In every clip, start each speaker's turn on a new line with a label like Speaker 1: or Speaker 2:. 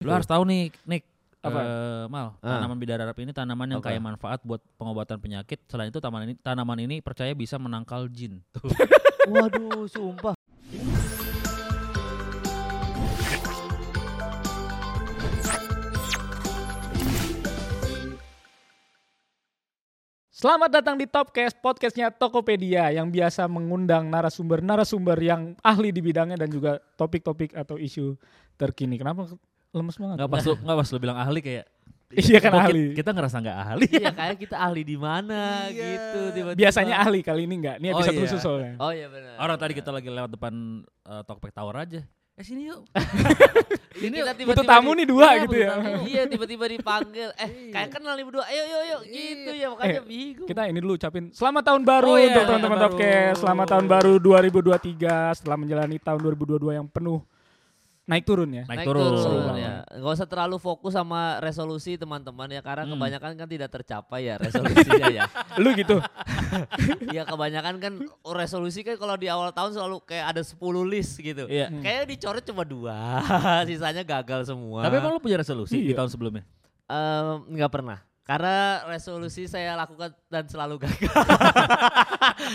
Speaker 1: Lu harus tahu nih, Nick.
Speaker 2: Apa?
Speaker 1: Eh, Mal,
Speaker 3: Ah.
Speaker 1: tanaman bidararap ini tanaman yang
Speaker 3: Apa?
Speaker 1: kaya manfaat buat pengobatan penyakit. Selain itu tanaman ini tanaman ini percaya bisa menangkal jin. Tuh.
Speaker 3: Waduh, sumpah.
Speaker 2: Selamat datang di Topcast, podcastnya Tokopedia yang biasa mengundang narasumber-narasumber yang ahli di bidangnya dan juga topik-topik atau isu terkini. Kenapa lemes banget?
Speaker 1: Enggak pas lu enggak pas lu bilang ahli kayak
Speaker 2: Iya kan
Speaker 1: "Kok ki-
Speaker 2: ahli.
Speaker 1: Kita ngerasa nggak ahli.
Speaker 3: Iya, kayak kita ahli di mana gitu tiba-tiba.
Speaker 2: Biasanya ahli kali ini enggak. Ini
Speaker 1: Oh,
Speaker 2: episode
Speaker 1: iya.
Speaker 2: khusus soalnya.
Speaker 3: Oh iya benar.
Speaker 1: Orang tadi kita lagi lewat depan eh, Tokped Tower aja. Eh sini yuk.
Speaker 3: ini
Speaker 2: butuh tamu nih dua gitu ya.
Speaker 3: Iya, tiba-tiba dipanggil. Eh, kayak kenal nih berdua. Ayo, ayo, ayo. Gitu ya
Speaker 2: Eh,
Speaker 3: makanya bingung.
Speaker 2: Kita ini dulu ucapin selamat tahun baru
Speaker 3: Oh, iya,
Speaker 2: untuk
Speaker 3: iya,
Speaker 2: teman-teman
Speaker 3: baru.
Speaker 2: Topcast. Selamat tahun baru 2023 setelah menjalani tahun 2022 yang penuh naik turun ya.
Speaker 1: Naik, turun. Iya.
Speaker 3: ya. Nggak usah terlalu fokus sama resolusi teman-teman ya karena
Speaker 1: Hmm.
Speaker 3: kebanyakan kan tidak tercapai ya resolusinya ya.
Speaker 2: Lu gitu.
Speaker 3: Iya kebanyakan kan resolusi kan kalau di awal tahun selalu kayak ada 10 list gitu.
Speaker 1: Iya.
Speaker 2: Hmm.
Speaker 3: Kayaknya dicoret cuma dua, sisanya gagal semua.
Speaker 1: Tapi emang lu punya resolusi di
Speaker 2: Iya.
Speaker 1: tahun sebelumnya?
Speaker 3: Em, nggak pernah. Karena resolusi saya lakukan dan selalu gagal.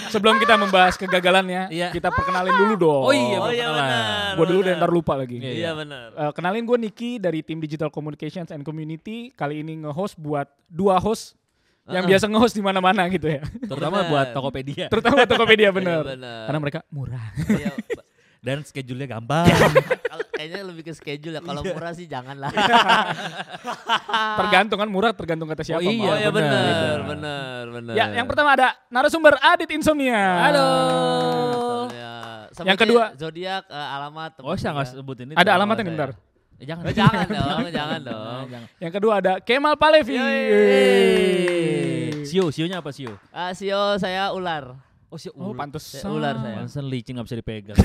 Speaker 2: Sebelum kita membahas kegagalannya,
Speaker 1: Iya.
Speaker 2: kita perkenalin dulu dong.
Speaker 1: Oh, iya,
Speaker 3: oh iya
Speaker 1: perkenalan.
Speaker 3: benar.
Speaker 2: Gue dulu dan
Speaker 3: benar.
Speaker 2: ntar lupa lagi.
Speaker 1: Iya,
Speaker 3: Iya benar.
Speaker 2: Eh, kenalin gue Niki dari tim Digital Communications and Community. Kali ini nge-host buat dua host yang
Speaker 3: Uh-uh.
Speaker 2: biasa nge-host di mana-mana gitu ya.
Speaker 1: Terutama
Speaker 3: Benar.
Speaker 1: buat Tokopedia
Speaker 2: Terutama Tokopedia
Speaker 3: Iya,
Speaker 2: bener.
Speaker 3: benar.
Speaker 2: Karena mereka murah.
Speaker 3: Iya, ba-
Speaker 1: dan schedule-nya gampang.
Speaker 2: Iya.
Speaker 3: kalau- kayaknya lebih ke schedule ya.
Speaker 1: Iya.
Speaker 3: Kalau murah sih janganlah.
Speaker 2: Tergantung kan murah tergantung kata siapa.
Speaker 1: Oh, iya,
Speaker 3: oh
Speaker 2: Mal.
Speaker 3: iya
Speaker 1: benar.
Speaker 3: benar, benar, benar.
Speaker 2: Ya, yang pertama ada narasumber Adit Insomnia.
Speaker 1: Halo.
Speaker 3: Soalnya- sama
Speaker 2: Yang
Speaker 3: kayak
Speaker 2: kedua.
Speaker 3: zodiak eh, alamat. teman
Speaker 1: Oh, saya nggak
Speaker 3: saya.
Speaker 1: sebut ini.
Speaker 2: Ada
Speaker 1: terlalu
Speaker 2: alamatnya nih
Speaker 1: saya.
Speaker 2: bentar.
Speaker 1: Eh, jangan. Nah,
Speaker 3: Eh, jangan dong, jangan dong.
Speaker 1: Jangan.
Speaker 2: Yang kedua ada Kemal Palevi.
Speaker 3: Yeay.
Speaker 1: Sio, sionya apa sio?
Speaker 3: Ah, Sio saya ular.
Speaker 1: Oh, sio
Speaker 2: Oh,
Speaker 1: ular.
Speaker 2: pantesan.
Speaker 3: Saya ular saya.
Speaker 1: Pantesan licin nggak bisa dipegang.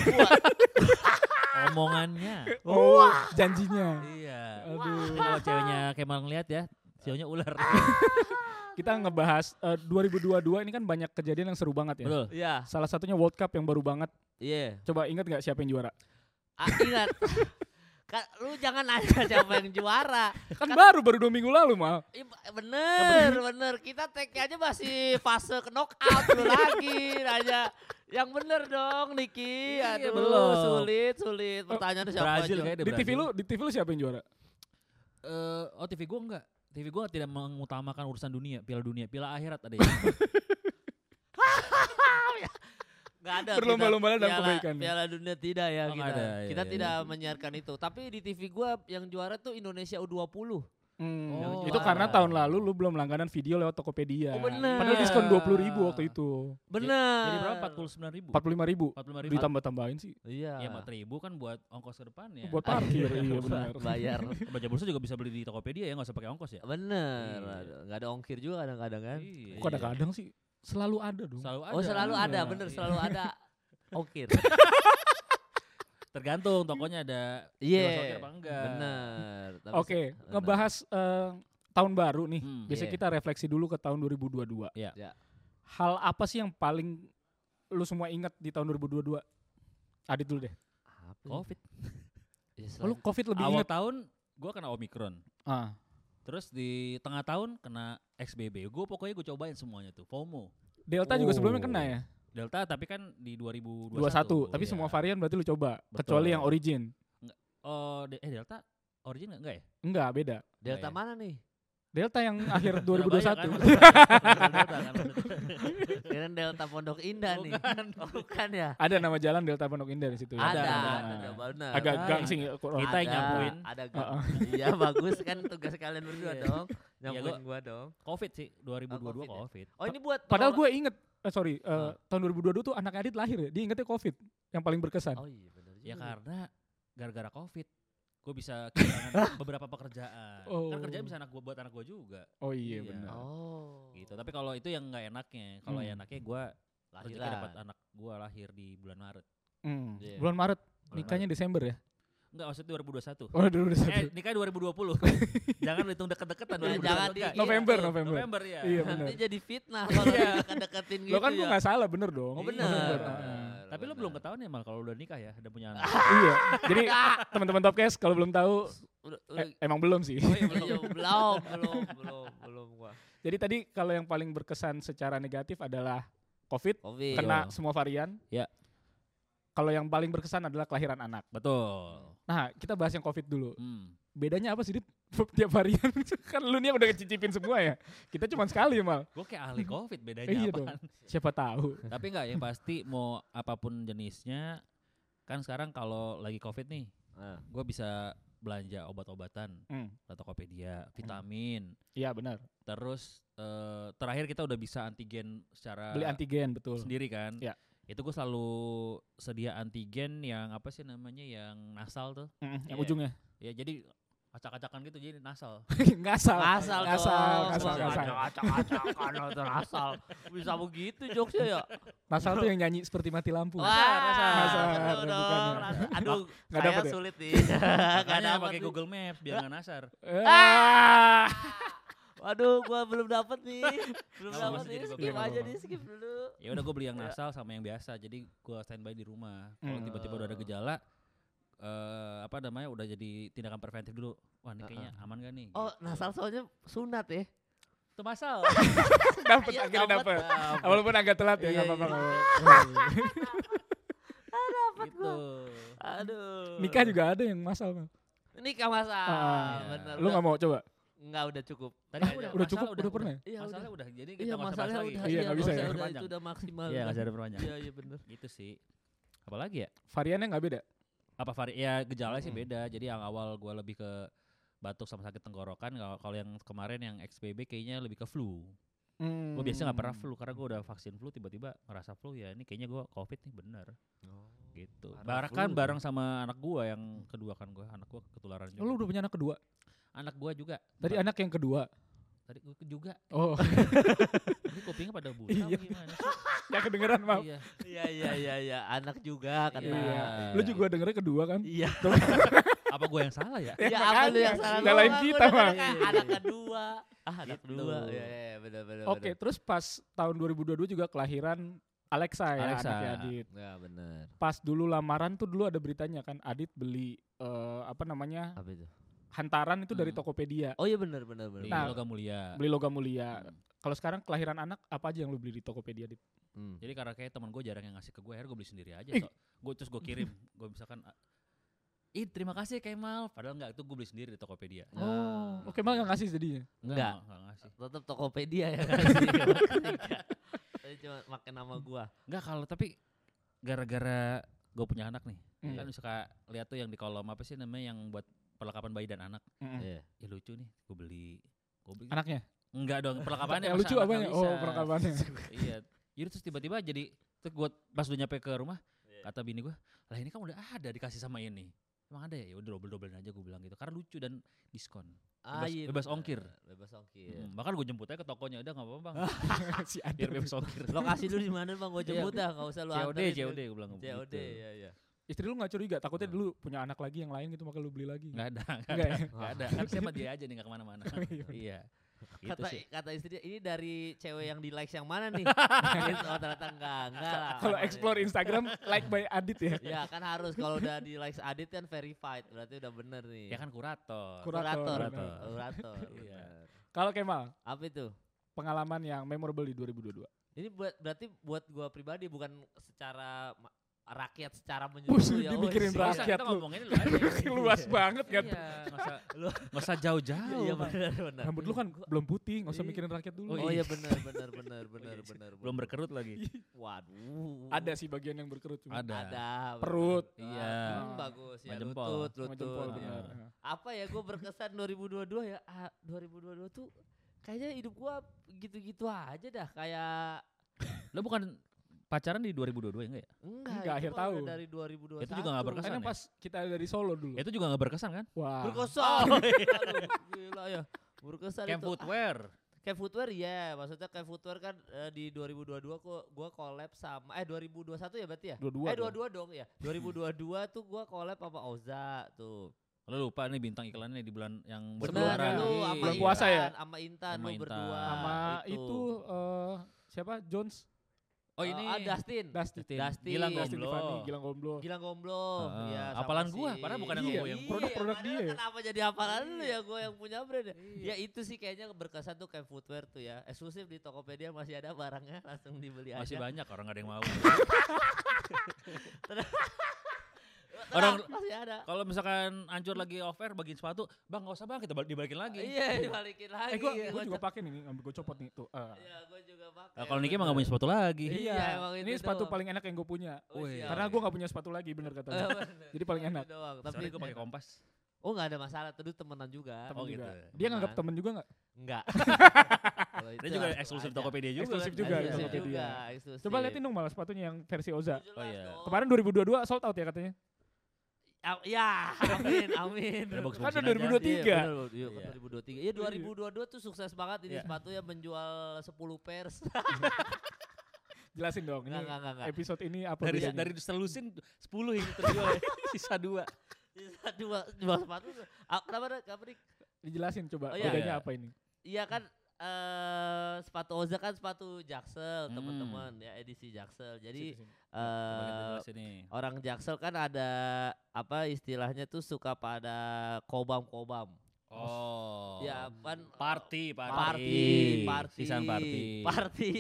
Speaker 1: Omongannya.
Speaker 2: Oh, janjinya.
Speaker 1: Iya.
Speaker 2: Aduh.
Speaker 1: Ini Kalau ceweknya Kemal ngeliat ya, sionya ular.
Speaker 2: Kita ngebahas eh, 2022 ini kan banyak kejadian yang seru banget ya.
Speaker 1: Betul.
Speaker 3: Iya,
Speaker 2: Salah satunya World Cup yang baru banget.
Speaker 3: iya.
Speaker 2: Coba ingat nggak siapa yang juara?
Speaker 3: Ah, ingat. Ka- lu jangan nanya siapa yang juara.
Speaker 2: Kan baru baru dua minggu lalu mal.
Speaker 3: Ih, Iya, Bener, bener. Kita tag aja masih fase knockout lu lagi. Aja. Yang bener dong, Niki.
Speaker 1: Iya,
Speaker 3: Aduh,
Speaker 1: belum.
Speaker 3: sulit, sulit. Pertanyaan siapa
Speaker 1: Brazil kan?
Speaker 3: aja.
Speaker 1: kayaknya
Speaker 2: Di TV lu di TV lu siapa yang juara?
Speaker 1: Eh, oh TV gue enggak. TV gue tidak mengutamakan urusan dunia, piala dunia, piala akhirat ada ya.
Speaker 3: Gak ada.
Speaker 2: Berlomba-lomba dalam
Speaker 3: piala-
Speaker 2: kebaikan.
Speaker 3: Piala dunia tidak ya.
Speaker 1: Oh, nggak
Speaker 3: kita
Speaker 1: ada, iya,
Speaker 3: kita
Speaker 1: iya.
Speaker 3: tidak menyiarkan itu. Tapi di TV gua yang juara tuh Indonesia U20.
Speaker 1: Oh,
Speaker 2: Hmm. itu
Speaker 3: juara.
Speaker 2: karena tahun lalu lu belum langganan video lewat Tokopedia.
Speaker 3: Oh, bener.
Speaker 2: Padahal diskon 20.000 ribu waktu itu.
Speaker 3: Bener.
Speaker 1: Jadi berapa? 49 ribu?
Speaker 2: 45.000 ribu.
Speaker 1: 45 ribu.
Speaker 2: Ditambah-tambahin sih.
Speaker 3: Iya.
Speaker 1: Ya 4 ribu kan buat ongkos ke depannya.
Speaker 2: Buat
Speaker 3: Ah,
Speaker 2: parkir.
Speaker 3: iya,
Speaker 2: iya
Speaker 3: buat
Speaker 2: benar.
Speaker 3: Bayar.
Speaker 1: Baca bursa juga bisa beli di Tokopedia ya, nggak usah pakai ongkos ya.
Speaker 3: Bener.
Speaker 1: Iya.
Speaker 3: Aduh, Nggak ada ongkir juga kadang-kadang kan.
Speaker 1: Iya.
Speaker 2: Kok kadang-kadang sih selalu ada dong.
Speaker 1: Selalu ada.
Speaker 3: Oh selalu ada,
Speaker 1: Iya.
Speaker 3: bener selalu ada ongkir.
Speaker 1: Tergantung tokonya ada
Speaker 3: Iya.
Speaker 1: bebas ongkir apa enggak.
Speaker 3: Bener. Tapi
Speaker 2: Oke,
Speaker 3: se- bener.
Speaker 2: ngebahas eh, tahun baru nih.
Speaker 1: Hmm.
Speaker 2: Biasanya
Speaker 3: iya.
Speaker 2: kita refleksi dulu ke tahun 2022.
Speaker 1: Iya.
Speaker 3: Iya.
Speaker 2: Hal apa sih yang paling lu semua ingat di tahun 2022? Adit dulu deh.
Speaker 3: Apa ya?
Speaker 1: Covid.
Speaker 2: Oh,
Speaker 3: Ya,
Speaker 2: lu
Speaker 3: selain-
Speaker 2: COVID lebih
Speaker 1: Awal
Speaker 2: ingat.
Speaker 1: tahun gua kena Omikron.
Speaker 2: Ah.
Speaker 1: Terus di tengah tahun kena XBB. Gue pokoknya gue cobain semuanya tuh. FOMO.
Speaker 2: Delta juga sebelumnya kena ya?
Speaker 1: Delta tapi kan di 2021.
Speaker 2: 21. Tapi semua
Speaker 1: Iya.
Speaker 2: varian berarti lu coba,
Speaker 1: Betul.
Speaker 2: kecuali yang origin.
Speaker 1: Oh, de- eh Delta origin enggak ya?
Speaker 2: Enggak, beda.
Speaker 3: Delta
Speaker 1: Iya.
Speaker 3: mana nih?
Speaker 2: Delta yang akhir
Speaker 1: Surabaya
Speaker 2: 2021.
Speaker 1: kan? Delta kan maksudnya.
Speaker 3: Kira Delta Pondok Indah nih. Oh, bukan ya?
Speaker 2: ada nama jalan Delta Pondok Indah di situ. ya?
Speaker 3: Ada,
Speaker 1: kan- ada.
Speaker 3: ada, ada, bener.
Speaker 2: Agak
Speaker 1: Ada.
Speaker 2: gang sih. kok.
Speaker 1: Kita yang
Speaker 3: Ada,
Speaker 1: nyampuin.
Speaker 3: Ada gang. Iya bagus kan tugas kalian berdua
Speaker 1: Iya.
Speaker 3: dong.
Speaker 1: gua-
Speaker 3: Nyampuin gua dong.
Speaker 1: Covid sih, 2022
Speaker 3: Oh,
Speaker 1: Covid.
Speaker 3: Covid ya. Oh ini buat
Speaker 2: Padahal
Speaker 3: pengelola-
Speaker 2: gue inget, eh, sorry, eh,
Speaker 3: Ah.
Speaker 2: tahun 2022 tuh anak Adit lahir ya. Dia ingetnya COVID yang paling berkesan.
Speaker 3: Oh iya bener
Speaker 1: Ya
Speaker 3: juga.
Speaker 1: karena gara-gara Covid gue bisa kehilangan beberapa pekerjaan. Kan
Speaker 2: Oh.
Speaker 1: kerjaan bisa anak gue buat anak gue juga
Speaker 2: Oh iya,
Speaker 1: Iya.
Speaker 2: benar.
Speaker 3: Oh.
Speaker 1: gitu. Tapi kalau itu yang nggak enaknya, kalau
Speaker 2: Hmm.
Speaker 1: yang enaknya gue rezeki dapat
Speaker 3: lahiran.
Speaker 1: anak gue lahir di bulan Maret.
Speaker 2: Hmm.
Speaker 3: Iya.
Speaker 2: Bulan Maret, nikahnya Desember ya?
Speaker 1: Enggak, maksudnya 2021.
Speaker 2: Oh, dulu
Speaker 1: Eh,
Speaker 2: Desember.
Speaker 1: nikah 2020. jangan hitung deket-deketan
Speaker 3: Nah, jangan di-
Speaker 1: 2021.
Speaker 3: iya,
Speaker 2: November,
Speaker 3: tuh.
Speaker 2: November.
Speaker 1: November ya.
Speaker 2: Iya,
Speaker 3: Nanti
Speaker 2: benar.
Speaker 3: jadi fitnah kalau dekat-deketin gitu
Speaker 2: Lo kan
Speaker 3: ya.
Speaker 2: gue gak salah, bener dong.
Speaker 3: Oh
Speaker 1: Iya,
Speaker 3: benar.
Speaker 2: benar.
Speaker 1: Tapi lo belum ketahuan ya mal kalau udah nikah ya, udah punya anak.
Speaker 2: iya. Jadi teman-teman Topcast kalau belum tahu
Speaker 3: Udah, udah,
Speaker 2: eh, emang belum sih.
Speaker 3: oh iya, belum, belum, belum, belum, belum gua.
Speaker 2: Jadi tadi kalau yang paling berkesan secara negatif adalah COVID
Speaker 3: Covid.
Speaker 2: kena semua varian.
Speaker 1: Ya.
Speaker 2: Kalau yang paling berkesan adalah kelahiran anak.
Speaker 1: Betul.
Speaker 2: Nah, kita bahas yang COVID dulu.
Speaker 1: Hmm.
Speaker 2: Bedanya apa sih Dit? tiap varian? kan lu nih udah ngecicipin semua ya. Kita cuma sekali mal.
Speaker 1: Gue kayak ahli covid bedanya
Speaker 2: Iya
Speaker 1: apa?
Speaker 2: dong. Siapa tahu.
Speaker 1: Tapi enggak yang pasti mau apapun jenisnya kan sekarang kalau lagi covid nih,
Speaker 3: Ah.
Speaker 2: Nah.
Speaker 1: gue bisa belanja obat-obatan,
Speaker 2: Hmm,
Speaker 1: ke Tokopedia, vitamin,
Speaker 2: Iya benar.
Speaker 1: terus eh, terakhir kita udah bisa antigen secara
Speaker 2: Beli antigen betul.
Speaker 1: sendiri kan.
Speaker 2: Ya.
Speaker 1: Itu gue selalu sedia antigen yang apa sih namanya yang nasal tuh.
Speaker 2: Mm, yang
Speaker 1: Iya.
Speaker 2: ujungnya.
Speaker 1: Ya jadi acak-acakan gitu jadi nasal.
Speaker 2: ngasal.
Speaker 3: Ngasal
Speaker 2: Ngasal,
Speaker 3: dong.
Speaker 2: ngasal,
Speaker 3: Ngasal,
Speaker 2: ngasal.
Speaker 3: Acak-acakan atau ngasal. Bisa begitu jokesnya ya.
Speaker 2: Nasal tuh yang nyanyi seperti mati lampu.
Speaker 3: Wah, ngasal.
Speaker 2: Ngasal,
Speaker 3: Betul dong.
Speaker 2: bukannya.
Speaker 3: ngasal. Aduh,
Speaker 2: Nggak
Speaker 3: saya
Speaker 2: dapet ya?
Speaker 3: sulit nih. Gak
Speaker 1: Makanya
Speaker 3: ada
Speaker 1: pakai Google Maps biar nggak nasar.
Speaker 2: Eh,
Speaker 3: Ah. Waduh, gua belum dapet nih. Belum
Speaker 1: Nggak
Speaker 3: dapet
Speaker 1: apa-apa,
Speaker 3: nih.
Speaker 1: jadi
Speaker 3: Skip
Speaker 2: bagus.
Speaker 3: aja nih, skip dulu.
Speaker 1: Ya udah gue beli yang nasal sama yang biasa. Jadi gue standby di rumah. Kalau
Speaker 2: Hmm.
Speaker 1: tiba-tiba udah ada gejala eh apa namanya udah jadi tindakan preventif dulu. Wah, ini
Speaker 3: Heeh.
Speaker 1: kayaknya aman gak nih? Gitu.
Speaker 3: Oh, nasal soalnya sunat ya.
Speaker 1: itu masal.
Speaker 2: Dapet,
Speaker 3: Iya,
Speaker 2: akhirnya
Speaker 3: dapet.
Speaker 2: dapet. Walaupun agak telat ya, nggak
Speaker 3: Iya,
Speaker 2: apa-apa.
Speaker 3: iya.
Speaker 2: nggak apa-apa.
Speaker 1: gitu.
Speaker 3: Aduh.
Speaker 2: Nikah juga ada yang masal. Mal.
Speaker 3: Nikah masal.
Speaker 2: Ah,
Speaker 3: Bener.
Speaker 2: Lu nggak mau coba?
Speaker 3: Enggak udah cukup.
Speaker 1: Tadi
Speaker 3: Ah,
Speaker 1: udah,
Speaker 2: udah
Speaker 1: masalah
Speaker 2: cukup, udah pernah ya?
Speaker 3: Iya,
Speaker 1: masalah udah. Jadi kita nggak
Speaker 3: Iya,
Speaker 1: usah bahas
Speaker 3: masalahnya
Speaker 1: lagi.
Speaker 3: udah.
Speaker 2: Iya, nggak bisa
Speaker 3: usah,
Speaker 2: ya.
Speaker 3: Udah,
Speaker 1: Perpanjang.
Speaker 3: itu udah maksimal.
Speaker 1: Iya, nggak usah
Speaker 3: udah.
Speaker 1: diperpanjang.
Speaker 3: Iya, iya bener.
Speaker 1: Gitu sih. Apalagi ya?
Speaker 2: Variannya nggak beda.
Speaker 1: Apa vari? Ya gejalanya sih
Speaker 3: Mm.
Speaker 1: beda. Jadi yang awal gua lebih ke batuk sama sakit tenggorokan. Kalau kalau yang kemarin yang XBB kayaknya lebih ke flu.
Speaker 2: Hmm.
Speaker 1: Gue biasanya nggak pernah flu karena gue udah vaksin flu tiba-tiba ngerasa flu ya ini kayaknya gue covid nih bener
Speaker 3: Oh.
Speaker 1: gitu.
Speaker 3: Parah
Speaker 1: Barang kan
Speaker 3: flu.
Speaker 1: bareng sama anak gue yang kedua kan gue anak gue ketularan juga.
Speaker 2: Lu udah punya anak kedua.
Speaker 1: Anak gue juga. Ba-
Speaker 2: Tadi anak yang kedua.
Speaker 1: tadi gue juga.
Speaker 2: Oh,
Speaker 1: Ini kupingnya pada buta
Speaker 2: Iya.
Speaker 1: apa gimana sih?
Speaker 2: ya kedengeran mal.
Speaker 1: Iya.
Speaker 3: Iya, iya, iya, iya. Anak juga kan.
Speaker 2: Iya. Lu juga dengernya kedua kan?
Speaker 3: Iya.
Speaker 1: Apa gue yang salah ya?
Speaker 3: Ya,
Speaker 2: Ya,
Speaker 3: apa lu
Speaker 2: makanya.
Speaker 3: yang salah
Speaker 2: Nyalain
Speaker 3: doang,
Speaker 2: kita,
Speaker 3: gua
Speaker 2: Bang.
Speaker 3: dengar, Anak kedua. Ah, anak
Speaker 1: Gitu.
Speaker 3: kedua. Iya, iya, benar benar.
Speaker 2: Oke,
Speaker 3: benar.
Speaker 2: terus pas tahun 2022 juga kelahiran Alexa ya
Speaker 1: Alexa.
Speaker 2: anaknya Adit.
Speaker 3: Ya, benar.
Speaker 2: Pas dulu lamaran tuh dulu ada beritanya kan Adit beli eh, apa namanya?
Speaker 3: Apa itu?
Speaker 2: hantaran itu dari
Speaker 1: Hmm.
Speaker 2: Tokopedia.
Speaker 3: Oh iya benar benar benar.
Speaker 1: Di
Speaker 2: Nah,
Speaker 1: logam mulia.
Speaker 2: Beli logam mulia.
Speaker 1: Hmm.
Speaker 2: Kalau sekarang kelahiran anak apa aja yang lu beli di Tokopedia? Dit?
Speaker 3: Hmm.
Speaker 1: Jadi karena kayak teman gue jarang yang ngasih ke gue, akhirnya gue beli sendiri aja.
Speaker 2: Ih.
Speaker 1: So, gue terus gue kirim, gue misalkan, "Ah, ih terima kasih Kemal, padahal enggak itu gue beli sendiri di Tokopedia.
Speaker 3: Nah,
Speaker 2: Oh, oke malah gak ngasih jadinya.
Speaker 3: Enggak.
Speaker 1: Mal, ngasih.
Speaker 3: tetap Tokopedia ya. Enggak. Tapi cuma pakai nama gua.
Speaker 1: Enggak kalau tapi gara-gara gue punya anak nih,
Speaker 2: Hmm.
Speaker 1: kan suka lihat tuh yang di kolom apa sih namanya yang buat perlengkapan bayi dan anak.
Speaker 2: Mm-mm.
Speaker 3: Iya.
Speaker 1: Ya lucu nih, gue beli. Gue beli.
Speaker 2: Anaknya.
Speaker 1: Enggak dong, perlengkapannya.
Speaker 2: Yang
Speaker 1: masa
Speaker 2: lucu
Speaker 1: anaknya
Speaker 2: apanya? Oh,
Speaker 1: bisa?
Speaker 2: perlengkapannya.
Speaker 1: iya jadi terus tiba-tiba jadi terus gue pas udah nyampe ke rumah kata bini gue lah ini kan udah ada dikasih sama ini emang ada ya udah double doublein aja gue bilang gitu karena lucu dan diskon
Speaker 3: Ah,
Speaker 1: Bebas-
Speaker 3: iya,
Speaker 1: bebas
Speaker 3: benar.
Speaker 1: ongkir.
Speaker 3: Bebas ongkir.
Speaker 1: Hmm, bahkan gue jemput aja ke tokonya udah nggak apa-apa bang
Speaker 2: si
Speaker 1: biar
Speaker 2: Adit.
Speaker 1: bebas ongkir
Speaker 3: Lokasi lu di mana Bang? Gua
Speaker 1: Iya.
Speaker 3: jemput dah, enggak usah lu
Speaker 1: COD
Speaker 3: anterin.
Speaker 1: COD gue bilang gitu.
Speaker 3: COD, iya iya.
Speaker 2: Istri lu gak curiga, takutnya
Speaker 1: Hmm.
Speaker 2: dulu punya anak lagi yang lain gitu makanya lu beli lagi.
Speaker 1: nggak ada nggak ada
Speaker 2: Enggak ya?
Speaker 1: nggak ada kan siapa dia aja nih nggak kemana-mana iya gitu
Speaker 3: kata
Speaker 1: sih
Speaker 3: kata istrinya ini dari cewek yang di likes yang mana nih? Gitu, oh ternyata enggak, enggak lah.
Speaker 2: Kalau
Speaker 3: Aman
Speaker 2: explore
Speaker 3: ya.
Speaker 2: Instagram like by Adit ya.
Speaker 3: Ya kan harus kalau udah di likes Adit kan verified, berarti udah bener nih.
Speaker 1: ya kan kurator
Speaker 2: Kur- Kurator,
Speaker 3: Kurator.
Speaker 1: bener.
Speaker 3: kurator,
Speaker 1: Iya.
Speaker 3: bener.
Speaker 2: Kalau Kemal,
Speaker 3: Apa itu?
Speaker 2: pengalaman yang memorable di 2022.
Speaker 3: Ini buat berarti buat gua pribadi bukan secara ma- rakyat secara menyeluruh ya.
Speaker 2: dipikirin
Speaker 1: Nggak
Speaker 3: woi.
Speaker 1: usah,
Speaker 2: rakyat
Speaker 1: Iya, kita
Speaker 2: lu.
Speaker 1: ngomongin lu aja
Speaker 2: Luas banget kan.
Speaker 1: iya nggak usah nggak usah jauh-jauh
Speaker 3: Iya
Speaker 1: Bang.
Speaker 3: benar benar.
Speaker 2: Rambut lu kan belum putih, gak usah mikirin rakyat dulu.
Speaker 3: Oh iya benar benar benar benar benar.
Speaker 1: belum berkerut lagi
Speaker 3: Waduh.
Speaker 2: Ada sih bagian yang berkerut cuma.
Speaker 1: ada,
Speaker 3: Ada. bener.
Speaker 2: Perut.
Speaker 3: Iya.
Speaker 1: Iya.
Speaker 3: Hmm, bagus ya.
Speaker 1: Sama jempol.
Speaker 3: Lutut,
Speaker 2: Sama
Speaker 3: lutut.
Speaker 2: jempol,
Speaker 3: Iya.
Speaker 2: benar. Nah,
Speaker 3: Apa ya gue berkesan 2022 ya. Ah, 2022 tuh kayaknya hidup gua gitu-gitu aja dah kayak
Speaker 1: Lo bukan pacaran di 2022 ya enggak ya?
Speaker 3: enggak,
Speaker 2: Enggak,
Speaker 3: itu
Speaker 2: akhir
Speaker 3: mah udah
Speaker 2: tahun.
Speaker 3: dari 2021.
Speaker 1: Itu juga nggak berkesan.
Speaker 2: Karena
Speaker 1: ya?
Speaker 2: pas kita dari Solo dulu.
Speaker 1: Itu juga nggak berkesan kan?
Speaker 2: Wah.
Speaker 3: Berkesan.
Speaker 2: Oh, iya.
Speaker 3: Aduh, Gila ya. Berkesan
Speaker 1: Camp
Speaker 3: itu.
Speaker 1: footwear.
Speaker 3: Kayak footwear ya, maksudnya kayak footwear kan eh, di 2022 kok gua collab sama eh 2021 ya berarti ya?
Speaker 2: Dua-dua
Speaker 3: eh
Speaker 2: dong.
Speaker 3: 22 dong ya. 2022 tuh gua collab sama Oza tuh.
Speaker 1: Lo lupa nih bintang iklannya di bulan yang
Speaker 2: Bener,
Speaker 1: berkeluaran.
Speaker 2: lu
Speaker 1: Iya.
Speaker 2: Bulan puasa ya?
Speaker 3: Sama Intan
Speaker 1: Sama
Speaker 3: lu
Speaker 1: Intan.
Speaker 3: berdua.
Speaker 2: sama itu eh, siapa Jones
Speaker 1: Oh ini.
Speaker 3: Ah, Dustin.
Speaker 2: Dustin.
Speaker 3: Dustin.
Speaker 1: Gilang
Speaker 2: Dustin
Speaker 1: Gomblo.
Speaker 2: Tiffany, Gilang Gomblo.
Speaker 3: Gilang Gomblong.
Speaker 1: Ah,
Speaker 3: ya, sama
Speaker 1: apalan gua, padahal bukan yang
Speaker 2: Iya, gua yang- produk-produk
Speaker 3: padahal
Speaker 2: dia ya. Iya.
Speaker 3: Kenapa jadi apalan lu ya gue yang punya brand ya? Ya itu sih kayaknya berkesan tuh kayak footwear tuh ya. Eksklusif di Tokopedia masih ada barangnya langsung dibeli
Speaker 1: Masih
Speaker 3: aja.
Speaker 1: banyak orang gak ada yang mau.
Speaker 3: Tenang,
Speaker 1: Orang-
Speaker 3: masih ada.
Speaker 1: Kalau misalkan hancur lagi offer bagiin sepatu, bang gak usah bang kita bal- dibalikin lagi.
Speaker 3: Iya, dibalikin lagi.
Speaker 2: Eh gua gua
Speaker 3: Gua
Speaker 2: juga
Speaker 3: co-
Speaker 2: pakai nih, ngambil gua copot nih tuh. Ah.
Speaker 3: Iya, gua juga pakai.
Speaker 1: Nah, kalau Niki emang gak punya sepatu lagi.
Speaker 3: Iya, emang
Speaker 2: ini
Speaker 3: itu
Speaker 2: sepatu
Speaker 3: doang.
Speaker 2: paling enak yang gue punya.
Speaker 3: Oh,
Speaker 1: Wih.
Speaker 3: siap.
Speaker 2: Karena gue gak punya sepatu lagi bener kata
Speaker 3: Eh,
Speaker 2: lu.
Speaker 3: bener.
Speaker 2: Jadi paling
Speaker 3: Itu
Speaker 2: enak.
Speaker 3: doang,
Speaker 1: Tapi
Speaker 3: Tapi
Speaker 1: gue pakai kompas.
Speaker 3: Oh nggak ada masalah, tuh temenan juga.
Speaker 2: Temen
Speaker 1: Oh,
Speaker 2: juga.
Speaker 1: gitu.
Speaker 2: Dia nganggap temen
Speaker 3: Temenan.
Speaker 2: juga gak?
Speaker 3: Enggak. Kalau itu
Speaker 1: Dia juga
Speaker 3: langsung
Speaker 1: eksklusif
Speaker 3: aja.
Speaker 1: Tokopedia juga.
Speaker 2: Eksklusif
Speaker 1: kan? Iya,
Speaker 2: juga di
Speaker 1: iya.
Speaker 3: Eksklusif
Speaker 2: Tokopedia.
Speaker 3: juga, eksklusif.
Speaker 2: Coba liatin dong malah sepatunya yang versi Oza.
Speaker 3: Jelas
Speaker 1: Oh, iya.
Speaker 3: dong.
Speaker 2: Kemarin 2022 sold out ya katanya.
Speaker 3: Au- ya, amin, amin.
Speaker 1: Ada box
Speaker 2: Kan
Speaker 1: boxin
Speaker 2: udah
Speaker 1: aja.
Speaker 2: 2022. 2023.
Speaker 3: Iya, bener, Iya,
Speaker 1: Iya.
Speaker 3: 2023. Iya, 2022 tuh sukses banget ini
Speaker 2: Iya.
Speaker 3: sepatunya menjual 10 pairs.
Speaker 2: Jelasin dong. Ini
Speaker 3: Enggak, enggak, enggak, enggak.
Speaker 2: episode ini apa
Speaker 1: Dari
Speaker 2: bedanya?
Speaker 1: dari selusin 10 yang terjual ya. sisa 2.
Speaker 3: Sisa dua dua Iya, sepatu. tuh. Ah, Kenapa ada Kapri?
Speaker 2: Dijelasin coba
Speaker 3: Oh, iya.
Speaker 2: bedanya
Speaker 1: Iya.
Speaker 2: apa ini.
Speaker 3: Iya kan eh sepatu Oza kan sepatu Jaksel,
Speaker 1: Hmm.
Speaker 3: teman-teman, ya edisi Jaksel. Jadi
Speaker 2: Sini, sini.
Speaker 3: eh orang Jaksel kan ada apa istilahnya tuh suka pada kobam-kobam.
Speaker 1: Oh.
Speaker 3: Ya kan
Speaker 1: Party, party.
Speaker 3: party, party,
Speaker 1: Sisan party.
Speaker 3: party.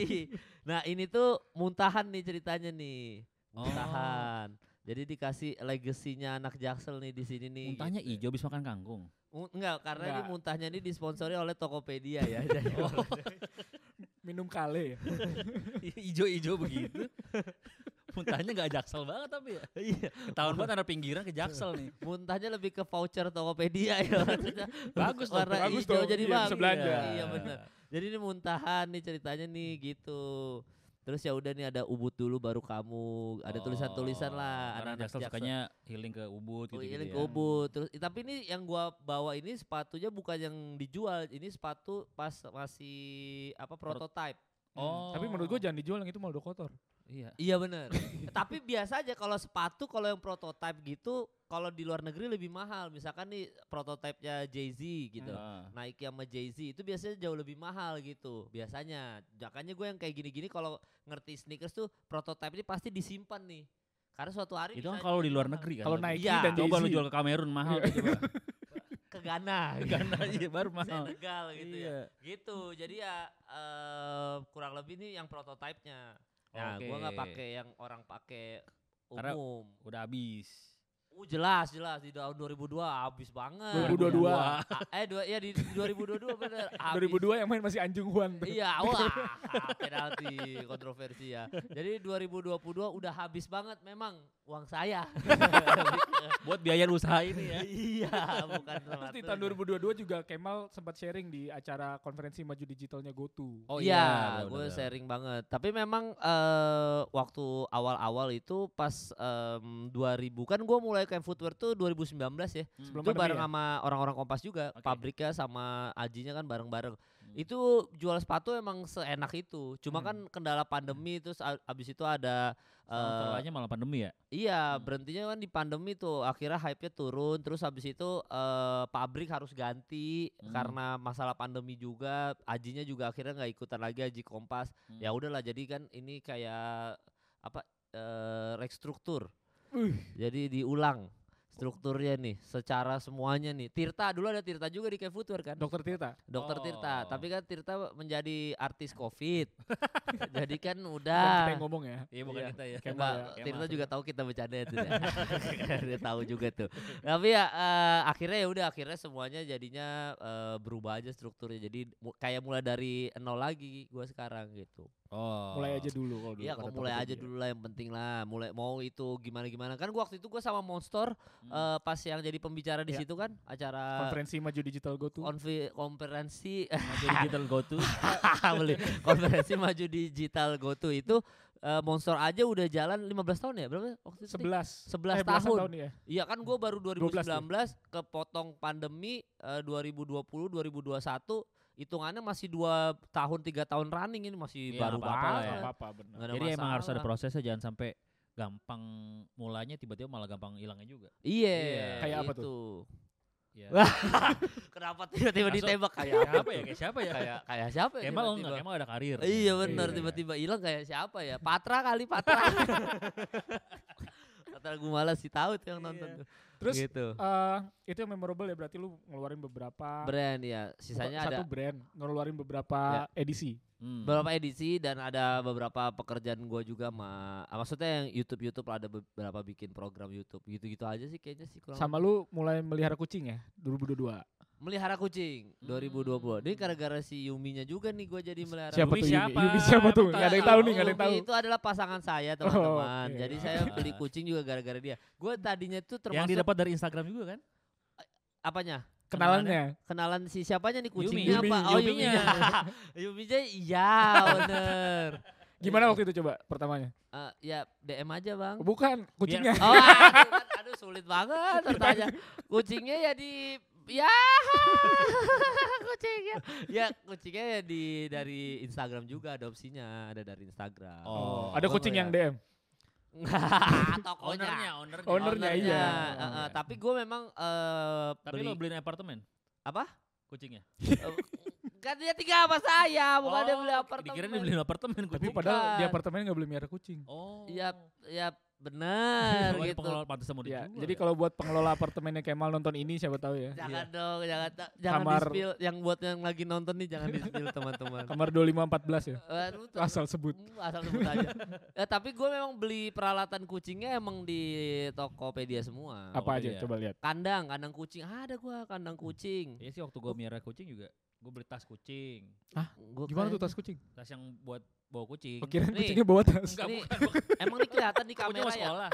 Speaker 3: Nah ini tuh muntahan nih ceritanya nih,
Speaker 1: Oh.
Speaker 3: muntahan. Jadi dikasih legasinya anak Jaksel nih di sini nih.
Speaker 1: Muntahnya
Speaker 3: gitu.
Speaker 1: hijau habis makan kangkung.
Speaker 3: Mu- Enggak, karena ini
Speaker 2: Enggak.
Speaker 3: muntahnya ini disponsori oleh Tokopedia ya. Jadi
Speaker 1: Oh.
Speaker 2: Minum kale ya.
Speaker 1: Ijo-ijo begitu. Muntahnya gak jaksel banget tapi ya.
Speaker 3: Iya,
Speaker 1: Tahun banget ada pinggiran ke jaksel nih.
Speaker 3: muntahnya lebih ke voucher Tokopedia ya. maksudnya.
Speaker 1: Bagus dong,
Speaker 3: warna
Speaker 2: bagus
Speaker 3: hijau
Speaker 2: dong.
Speaker 3: jadi
Speaker 2: Iya, bisa
Speaker 3: bagus.
Speaker 2: belanja.
Speaker 3: Iya benar. Jadi ini muntahan nih ceritanya nih gitu. Terus ya udah nih ada ubud dulu baru kamu. Ada tulisan-tulisan
Speaker 1: Oh,
Speaker 3: lah
Speaker 1: Karena
Speaker 3: anak-anak
Speaker 1: jaksel
Speaker 3: Jaksel.
Speaker 1: sukanya healing ke ubud gitu.
Speaker 3: Healing
Speaker 1: ya.
Speaker 3: ke Ubud. Iya, Terus i- tapi ini yang gua bawa ini sepatunya bukan yang dijual, ini sepatu pas masih apa prototype.
Speaker 1: Oh.
Speaker 2: Tapi menurut gue jangan dijual yang itu malah udah kotor.
Speaker 1: Iya.
Speaker 3: Iya bener tapi biasa aja kalau sepatu kalau yang prototype gitu kalau di luar negeri lebih mahal. Misalkan nih prototipenya Jay-Z gitu.
Speaker 1: Ah.
Speaker 3: Nike sama Jay-Z itu biasanya jauh lebih mahal gitu biasanya. Makanya gue yang kayak gini-gini kalau ngerti sneakers tuh prototipe ini pasti disimpan nih. Karena suatu hari
Speaker 1: Itu kan
Speaker 3: bisa
Speaker 1: kalau di
Speaker 3: jadi
Speaker 1: luar
Speaker 3: mahal.
Speaker 1: negeri kan.
Speaker 2: Kalau
Speaker 1: tapi-
Speaker 2: Nike
Speaker 3: Iya.
Speaker 2: dan
Speaker 1: Coba lu
Speaker 2: Jay-Z.
Speaker 1: jual ke Kamerun mahal gitu. Bang.
Speaker 3: ke Ghana gitu.
Speaker 1: Karena iya baru mahal.
Speaker 3: Senegal gitu ya.
Speaker 1: Iya.
Speaker 3: gitu jadi ya eh, kurang lebih nih yang prototipenya nah gua nggak
Speaker 1: Oke.
Speaker 3: pakai yang orang pakai
Speaker 1: Karena-
Speaker 3: umum
Speaker 1: Udah habis.
Speaker 3: uh, jelas jelas di tahun 2002 habis banget
Speaker 2: 2022.
Speaker 3: Ah, eh dua ya di 2022 bener habis.
Speaker 2: 2002 yang main masih Anjung Huan. tuh.
Speaker 3: iya wah penalti kontroversi ya jadi 2022 udah habis banget memang uang saya
Speaker 1: Buat biaya usaha ini ya.
Speaker 3: iya bukan
Speaker 2: Terus di
Speaker 3: sepatunya.
Speaker 2: tahun 2022 juga Kemal sempat sharing di acara konferensi maju digitalnya GoTo.
Speaker 1: Oh
Speaker 3: iya,
Speaker 1: bener,
Speaker 3: gue
Speaker 1: bener.
Speaker 3: sharing banget. Tapi memang eh waktu awal-awal itu pas em, 2000 kan gue mulai kayak footwear tuh 2019 ya.
Speaker 1: Hmm.
Speaker 2: Sebelum-
Speaker 3: Itu
Speaker 2: pandemi
Speaker 3: bareng
Speaker 2: ya?
Speaker 3: sama orang-orang Kompas juga,
Speaker 1: Oke. Hmm.
Speaker 3: pabriknya sama Ajinya kan bareng-bareng. Itu jual sepatu emang seenak itu. Cuma
Speaker 2: Hmm.
Speaker 3: kan kendala pandemi terus a- abis itu ada
Speaker 1: Sekarang
Speaker 3: eh,
Speaker 1: masalahnya malah pandemi ya.
Speaker 3: Iya,
Speaker 1: Hmm.
Speaker 3: berhentinya kan di pandemi tuh. Akhirnya hype-nya turun, terus habis itu eh, pabrik harus ganti
Speaker 1: Hmm.
Speaker 3: karena masalah pandemi juga. Ajinya juga akhirnya nggak ikutan lagi aji Kompas.
Speaker 1: Hmm.
Speaker 3: Ya udahlah, jadi kan ini kayak apa eh, restruktur.
Speaker 2: Wih.
Speaker 3: Jadi diulang strukturnya nih, secara semuanya nih. Tirta dulu ada Tirta juga di Kayak Footwear kan?
Speaker 2: Dokter Tirta.
Speaker 3: Dokter Tirta,
Speaker 1: Oh.
Speaker 3: tapi kan Tirta menjadi artis COVID. jadi kan
Speaker 2: Bukan kita
Speaker 3: udah.
Speaker 2: yang ngomong ya.
Speaker 1: Iya bukan
Speaker 3: Iya.
Speaker 1: kita ya.
Speaker 2: Kayak
Speaker 3: Enggak,
Speaker 2: Kemal
Speaker 3: Tirta juga tahu kita bercanda itu ya. Dia tahu juga tuh. Tapi ya eh, akhirnya ya udah akhirnya semuanya jadinya eh, berubah aja strukturnya. Jadi mu- kayak mulai dari nol lagi gua sekarang gitu.
Speaker 1: Oh.
Speaker 2: Mulai aja dulu kalau dulu. ya.
Speaker 3: Iya,
Speaker 2: kata
Speaker 3: kok mulai
Speaker 2: Tokopedia.
Speaker 3: aja dulu lah yang penting lah. Mulai mau itu gimana gimana kan gua waktu itu gua sama Monster
Speaker 1: Hmm.
Speaker 3: eh, pas yang jadi pembicara di
Speaker 2: Iya.
Speaker 3: situ kan acara
Speaker 2: Konferensi maju digital GoTo.
Speaker 3: konfe- konferensi
Speaker 1: Maju digital go to.
Speaker 3: Beli. konferensi maju digital GoTo itu eh, Monster aja udah jalan 15 tahun ya berapa waktu itu?
Speaker 2: 11.
Speaker 3: 11
Speaker 2: eh, belasan
Speaker 3: tahun.
Speaker 2: ya.
Speaker 3: Iya kan gue baru
Speaker 2: 12
Speaker 3: 2019
Speaker 2: tuh.
Speaker 3: kepotong pandemi eh, 2020 2021 hitungannya masih dua tahun tiga tahun running ini masih
Speaker 1: Iya,
Speaker 3: baru
Speaker 1: nggak apa-apa lah ya.
Speaker 3: banget.
Speaker 2: Nggak apa-apa benar.
Speaker 3: Nggak ada
Speaker 1: Jadi emang harus ada
Speaker 3: masalah.
Speaker 1: prosesnya jangan sampai gampang mulanya tiba-tiba malah gampang hilangnya juga.
Speaker 3: Iya.
Speaker 1: Iya.
Speaker 2: Kayak apa
Speaker 3: itu.
Speaker 1: Ya Ya.
Speaker 3: Kenapa tiba-tiba
Speaker 1: Langsung,
Speaker 3: ditembak kayak
Speaker 1: Siapa ya?
Speaker 3: apa tuh?
Speaker 1: Kayak siapa ya?
Speaker 3: Kayak kayak siapa ya?
Speaker 1: Kemal
Speaker 3: tiba-tiba?
Speaker 1: enggak? Kemal ada karir.
Speaker 3: Iya benar
Speaker 1: Iya.
Speaker 3: tiba-tiba hilang kayak siapa ya? Patra kali Patra. Patra gue malas sih tahu tuh yang nonton
Speaker 2: Iya.
Speaker 3: tuh.
Speaker 2: Terus
Speaker 3: gitu.
Speaker 2: eh, itu yang memorable ya berarti lu ngeluarin beberapa
Speaker 3: Brand ya, sisanya
Speaker 2: satu
Speaker 3: ada
Speaker 2: brand ngeluarin beberapa edisi.
Speaker 1: Hmm.
Speaker 3: beberapa edisi dan ada beberapa pekerjaan gua juga ma ah, maksudnya yang YouTube YouTube ada beberapa bikin program YouTube gitu-gitu aja sih kayaknya sih kurang
Speaker 2: Sama lu mulai melihara kucing ya 2022.
Speaker 3: melihara kucing 2020 ini gara-gara si Yuminya juga nih gua jadi melihara
Speaker 2: Hmm. Siapa
Speaker 1: Yumi
Speaker 2: tuh
Speaker 1: siapa?
Speaker 2: Yumi? Yumi siapa tuh?
Speaker 1: Betul.
Speaker 2: Gak ada yang tahu nih, gak ada yang
Speaker 3: Umi
Speaker 2: tahu. Oh,
Speaker 3: itu adalah pasangan saya teman-teman
Speaker 2: oke.
Speaker 3: jadi saya beli kucing juga gara-gara dia gua tadinya tuh
Speaker 1: Yang
Speaker 3: termasuk
Speaker 1: didapat dari Instagram juga kan?
Speaker 3: apanya
Speaker 2: Kenalannya.
Speaker 3: kenalan ya? si siapanya nih
Speaker 1: Yumi.
Speaker 3: kucingnya apa?
Speaker 1: Yumi.
Speaker 3: Oh
Speaker 1: Yuminya.
Speaker 3: Yuminya. Yuminya iya bener.
Speaker 2: Gimana waktu itu coba pertamanya?
Speaker 3: Eh, ya DM aja bang.
Speaker 2: Bukan ya? kucingnya.
Speaker 3: Oh aduh, kan, aduh sulit banget bertanya. Kucingnya ya di ya kucingnya ya kucingnya ya di dari Instagram juga adopsinya ada dari Instagram.
Speaker 1: Oh,
Speaker 2: ada kucing yang DM.
Speaker 3: tokonya.
Speaker 1: Ownernya, ownernya. Oh,
Speaker 2: Ownernya, iya.
Speaker 3: eh, eh, tapi gue memang eh
Speaker 1: Tapi
Speaker 3: beli-
Speaker 1: lo beliin apartemen?
Speaker 3: Apa?
Speaker 1: Kucingnya.
Speaker 3: eh, kan dia tinggal sama saya, bukan dia beli
Speaker 1: Oh,
Speaker 3: apartemen.
Speaker 1: Dikira dia beliin apartemen
Speaker 2: Tapi
Speaker 1: kucing.
Speaker 2: padahal di
Speaker 3: Bukan.
Speaker 2: apartemen gak boleh melihara kucing.
Speaker 1: Oh.
Speaker 3: Iya, ya benar
Speaker 1: Wah, ini
Speaker 3: gitu.
Speaker 1: Pengelola pantas mau
Speaker 2: Ya,
Speaker 1: dijual.
Speaker 2: jadi kalau buat pengelola apartemennya Kemal nonton ini siapa tahu ya.
Speaker 3: Jangan dong, jangan ta- jangan
Speaker 2: Kamar-
Speaker 3: di-spill. yang buat yang lagi nonton nih jangan di-spill teman-teman.
Speaker 2: Kamar 2514 ya.
Speaker 3: Eh, lu tuh-
Speaker 2: Asal sebut.
Speaker 3: Hmm, asal sebut aja. Eh, tapi gue memang beli peralatan kucingnya emang di Tokopedia semua.
Speaker 1: Ap-
Speaker 2: Apa
Speaker 1: iya.
Speaker 2: aja coba lihat.
Speaker 3: Kandang, kandang kucing. ada gua kandang
Speaker 2: Hmm.
Speaker 3: kucing.
Speaker 1: Iya sih waktu gue miara kucing juga, gue beli tas kucing,
Speaker 3: Gua
Speaker 2: Gimana tuh
Speaker 3: kayaknya-
Speaker 2: tas kucing?
Speaker 1: tas yang buat bawa kucing.
Speaker 2: Kirain
Speaker 3: Nih.
Speaker 2: kucingnya bawa tas.
Speaker 1: Enggak
Speaker 3: Nih.
Speaker 1: bukan,
Speaker 3: Emang nih kelihatan di
Speaker 1: bukan. Kucing
Speaker 3: kamera
Speaker 1: mau
Speaker 3: ya.
Speaker 1: sekolah.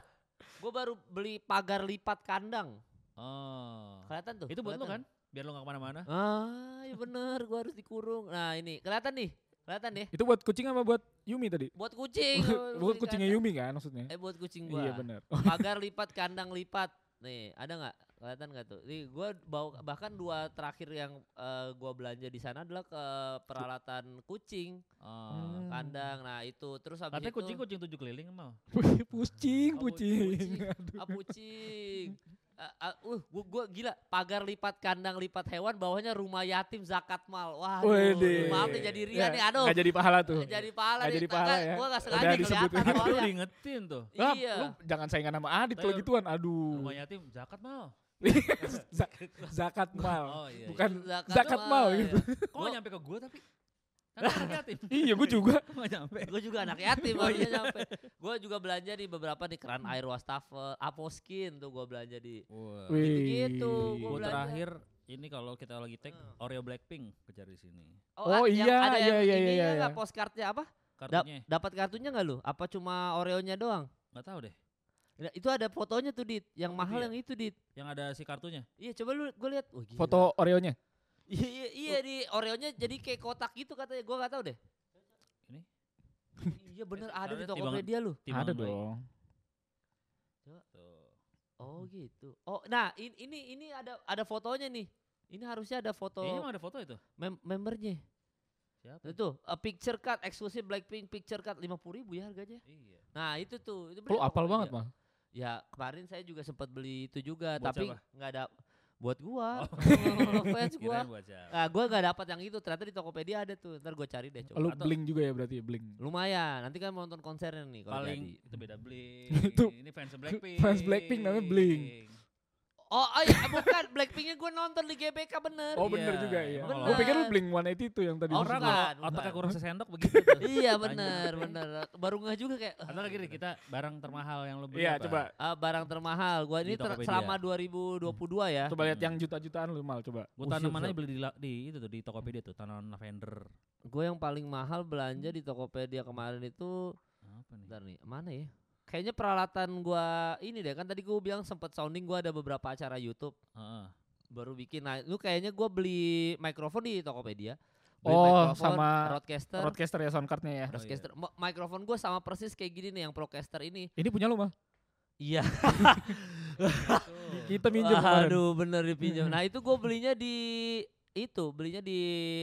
Speaker 3: Gue baru beli pagar lipat kandang.
Speaker 1: Oh.
Speaker 3: Kelihatan tuh.
Speaker 1: Itu buat lo
Speaker 3: kelihatan.
Speaker 1: kan? Biar lo gak kemana-mana.
Speaker 3: Ah, iya bener. Gue harus dikurung. Nah ini kelihatan nih, kelihatan nih.
Speaker 2: Itu buat kucing apa buat Yumi tadi?
Speaker 3: Buat kucing.
Speaker 2: Buat kucingnya
Speaker 3: kandang.
Speaker 2: Yumi kan maksudnya?
Speaker 3: Eh buat kucing gua.
Speaker 2: Iya benar.
Speaker 3: pagar lipat kandang lipat nih ada nggak kelihatan nggak tuh nih gue bawa bahkan dua terakhir yang eh, gua belanja di sana adalah ke peralatan kucing
Speaker 1: Oh.
Speaker 2: Hmm.
Speaker 3: kandang nah itu terus habis
Speaker 1: Katanya
Speaker 3: itu
Speaker 1: kucing-kucing tujuh keliling emang.
Speaker 2: Pusing,
Speaker 3: Oh,
Speaker 2: pusing.
Speaker 3: kucing. ah, kucing Ah, ah, uh gua, gua gila pagar lipat kandang lipat hewan bawahnya rumah yatim zakat mal wah
Speaker 2: Waduh.
Speaker 3: maaf nih jadi ria nih aduh
Speaker 2: Gak jadi pahala tuh.
Speaker 3: jadi pahala
Speaker 2: Nggak
Speaker 3: nih
Speaker 2: jadi pahala
Speaker 3: Nggak,
Speaker 2: ya.
Speaker 3: gua nggak
Speaker 2: Udah
Speaker 3: sengaja
Speaker 2: disebutin.
Speaker 3: kelihatan
Speaker 1: Tapi lo
Speaker 3: soalnya.
Speaker 1: diingetin tuh.
Speaker 2: Lah,
Speaker 3: iya
Speaker 2: Ah, lu jangan saingan sama Adit
Speaker 1: Tapi
Speaker 2: kalau
Speaker 1: lu-
Speaker 2: gituan. Aduh.
Speaker 1: Rumah yatim zakat mal.
Speaker 2: Za- zakat mal.
Speaker 1: Oh iya.
Speaker 2: Bukan
Speaker 3: Zakat
Speaker 2: kan zakat mal
Speaker 3: mal, iya.
Speaker 2: gitu.
Speaker 1: iya. Kok gak nyampe ke gue tapi? Kan lo anak yatim.
Speaker 2: Iya, gue juga.
Speaker 1: Kok gak nyampe?
Speaker 3: gue juga anak
Speaker 2: Oh,
Speaker 3: yatim makanya
Speaker 2: iya.
Speaker 3: nyampe gue juga belanja di beberapa nih keran air wastafel aposkin tuh gue belanja di
Speaker 1: Wah.
Speaker 2: Wih.
Speaker 3: gitu-gitu Gitu, gua
Speaker 1: Gue
Speaker 3: belanja.
Speaker 1: Oh, terakhir ini kalau kita lagi tag
Speaker 3: Hmm.
Speaker 1: Oreo Blackpink kejar di sini.
Speaker 2: Oh,
Speaker 3: a- yang
Speaker 2: iya,
Speaker 3: ada
Speaker 2: iya,
Speaker 3: yang
Speaker 2: iya,
Speaker 3: ininya
Speaker 2: iya,
Speaker 3: nggak
Speaker 2: iya.
Speaker 3: postcardnya apa Dap-
Speaker 1: Kartunya
Speaker 3: dapat kartunya nggak lu apa cuma oreonya doang
Speaker 1: nggak tahu deh.
Speaker 3: Nah, itu ada fotonya tuh dit yang
Speaker 1: Oh,
Speaker 3: mahal
Speaker 1: iya.
Speaker 3: yang itu dit
Speaker 1: Yang ada si kartunya.
Speaker 3: iya coba lu gue lihat Wah, gila.
Speaker 2: Foto Oreonya.
Speaker 3: iya iya, iya, di oreonya jadi kayak kotak gitu katanya gue nggak tahu deh
Speaker 1: Ini?
Speaker 3: iya bener ada di
Speaker 1: Soalnya timbangan-
Speaker 3: Tokopedia lu
Speaker 1: Timbangan
Speaker 2: Ada
Speaker 1: baik.
Speaker 2: dong.
Speaker 1: Tuh.
Speaker 3: oh gitu oh nah in- ini ini ada ada fotonya nih ini harusnya ada foto
Speaker 1: Iya, emang ada foto itu.
Speaker 3: mem- membernya
Speaker 1: Siapa?
Speaker 3: Itu a picture card eksklusif Blackpink picture card 50 ribu ya harganya.
Speaker 1: Iya.
Speaker 3: Nah, itu tuh. Itu
Speaker 2: Lu
Speaker 3: beli
Speaker 2: apal
Speaker 3: Tokopedia.
Speaker 2: banget, Mal.
Speaker 3: Ya, kemarin saya juga sempat beli itu juga,
Speaker 1: Buat
Speaker 3: tapi
Speaker 1: siapa?
Speaker 3: nggak ada buat gua.
Speaker 1: Oh.
Speaker 3: fans gua.
Speaker 1: Kirain buat siapa.
Speaker 3: Nah, gua nggak dapat yang itu. Ternyata di Tokopedia ada tuh. Ntar gua cari deh coba.
Speaker 2: Lu
Speaker 3: Atau-
Speaker 2: bling juga ya berarti, ya, bling.
Speaker 3: Lumayan, nanti kan mau nonton konsernya nih kalau
Speaker 1: paling
Speaker 3: jadi.
Speaker 1: itu beda Blink.
Speaker 2: Itu
Speaker 1: ini fans Blackpink.
Speaker 2: fans Blackpink namanya Blink.
Speaker 3: Oh, oh iya, bukan Blackpinknya gua nonton di GBK bener.
Speaker 2: Oh,
Speaker 1: Iya,
Speaker 2: bener juga ya.
Speaker 3: bener.
Speaker 2: Gue pikir lu bling 180 itu yang tadi. lu sebut.
Speaker 3: Oh,
Speaker 1: Orang
Speaker 3: bukan,
Speaker 1: kalau otaknya
Speaker 3: bukan.
Speaker 1: kurang sesendok begitu tuh.
Speaker 3: iya
Speaker 1: Tanya
Speaker 3: bener,
Speaker 1: Blackpink.
Speaker 3: bener. Baru ngeh juga kayak. eh,
Speaker 1: Atau lagi deh, kita barang termahal yang lo beli
Speaker 2: Iya,
Speaker 1: apa?
Speaker 2: coba.
Speaker 3: Ah, barang termahal. Gua
Speaker 1: Di
Speaker 3: ini ter-
Speaker 1: Tokopedia.
Speaker 3: selama 2022 ya.
Speaker 2: Coba lihat yang juta-jutaan lu, Mal, coba.
Speaker 1: Gue
Speaker 3: Oh, siap,
Speaker 1: tanaman aja
Speaker 3: siap.
Speaker 1: beli di, la- di itu tuh di Tokopedia tuh, tanaman lavender.
Speaker 3: Gue yang paling mahal belanja di Tokopedia kemarin itu
Speaker 1: Apa nih?
Speaker 3: bentar nih, mana ya? Kayaknya peralatan gua ini deh kan tadi gue bilang sempet sounding gua ada beberapa acara YouTube
Speaker 1: Heeh.
Speaker 3: baru bikin. Nah, lu kayaknya gua beli mikrofon di Tokopedia. Beli
Speaker 2: Oh,
Speaker 3: microphone,
Speaker 2: sama
Speaker 3: roadcaster. Oh
Speaker 2: Broadcaster ya soundcardnya ya.
Speaker 3: roadcaster. Ma- Microphone gua sama persis kayak gini nih yang Procaster ini.
Speaker 2: Ini punya lu, Mal.
Speaker 3: Iya.
Speaker 1: Tuh.
Speaker 2: Kita minjem kemarin. Hmm.
Speaker 3: Aduh, bener dipinjam. nah, itu gua belinya di itu belinya di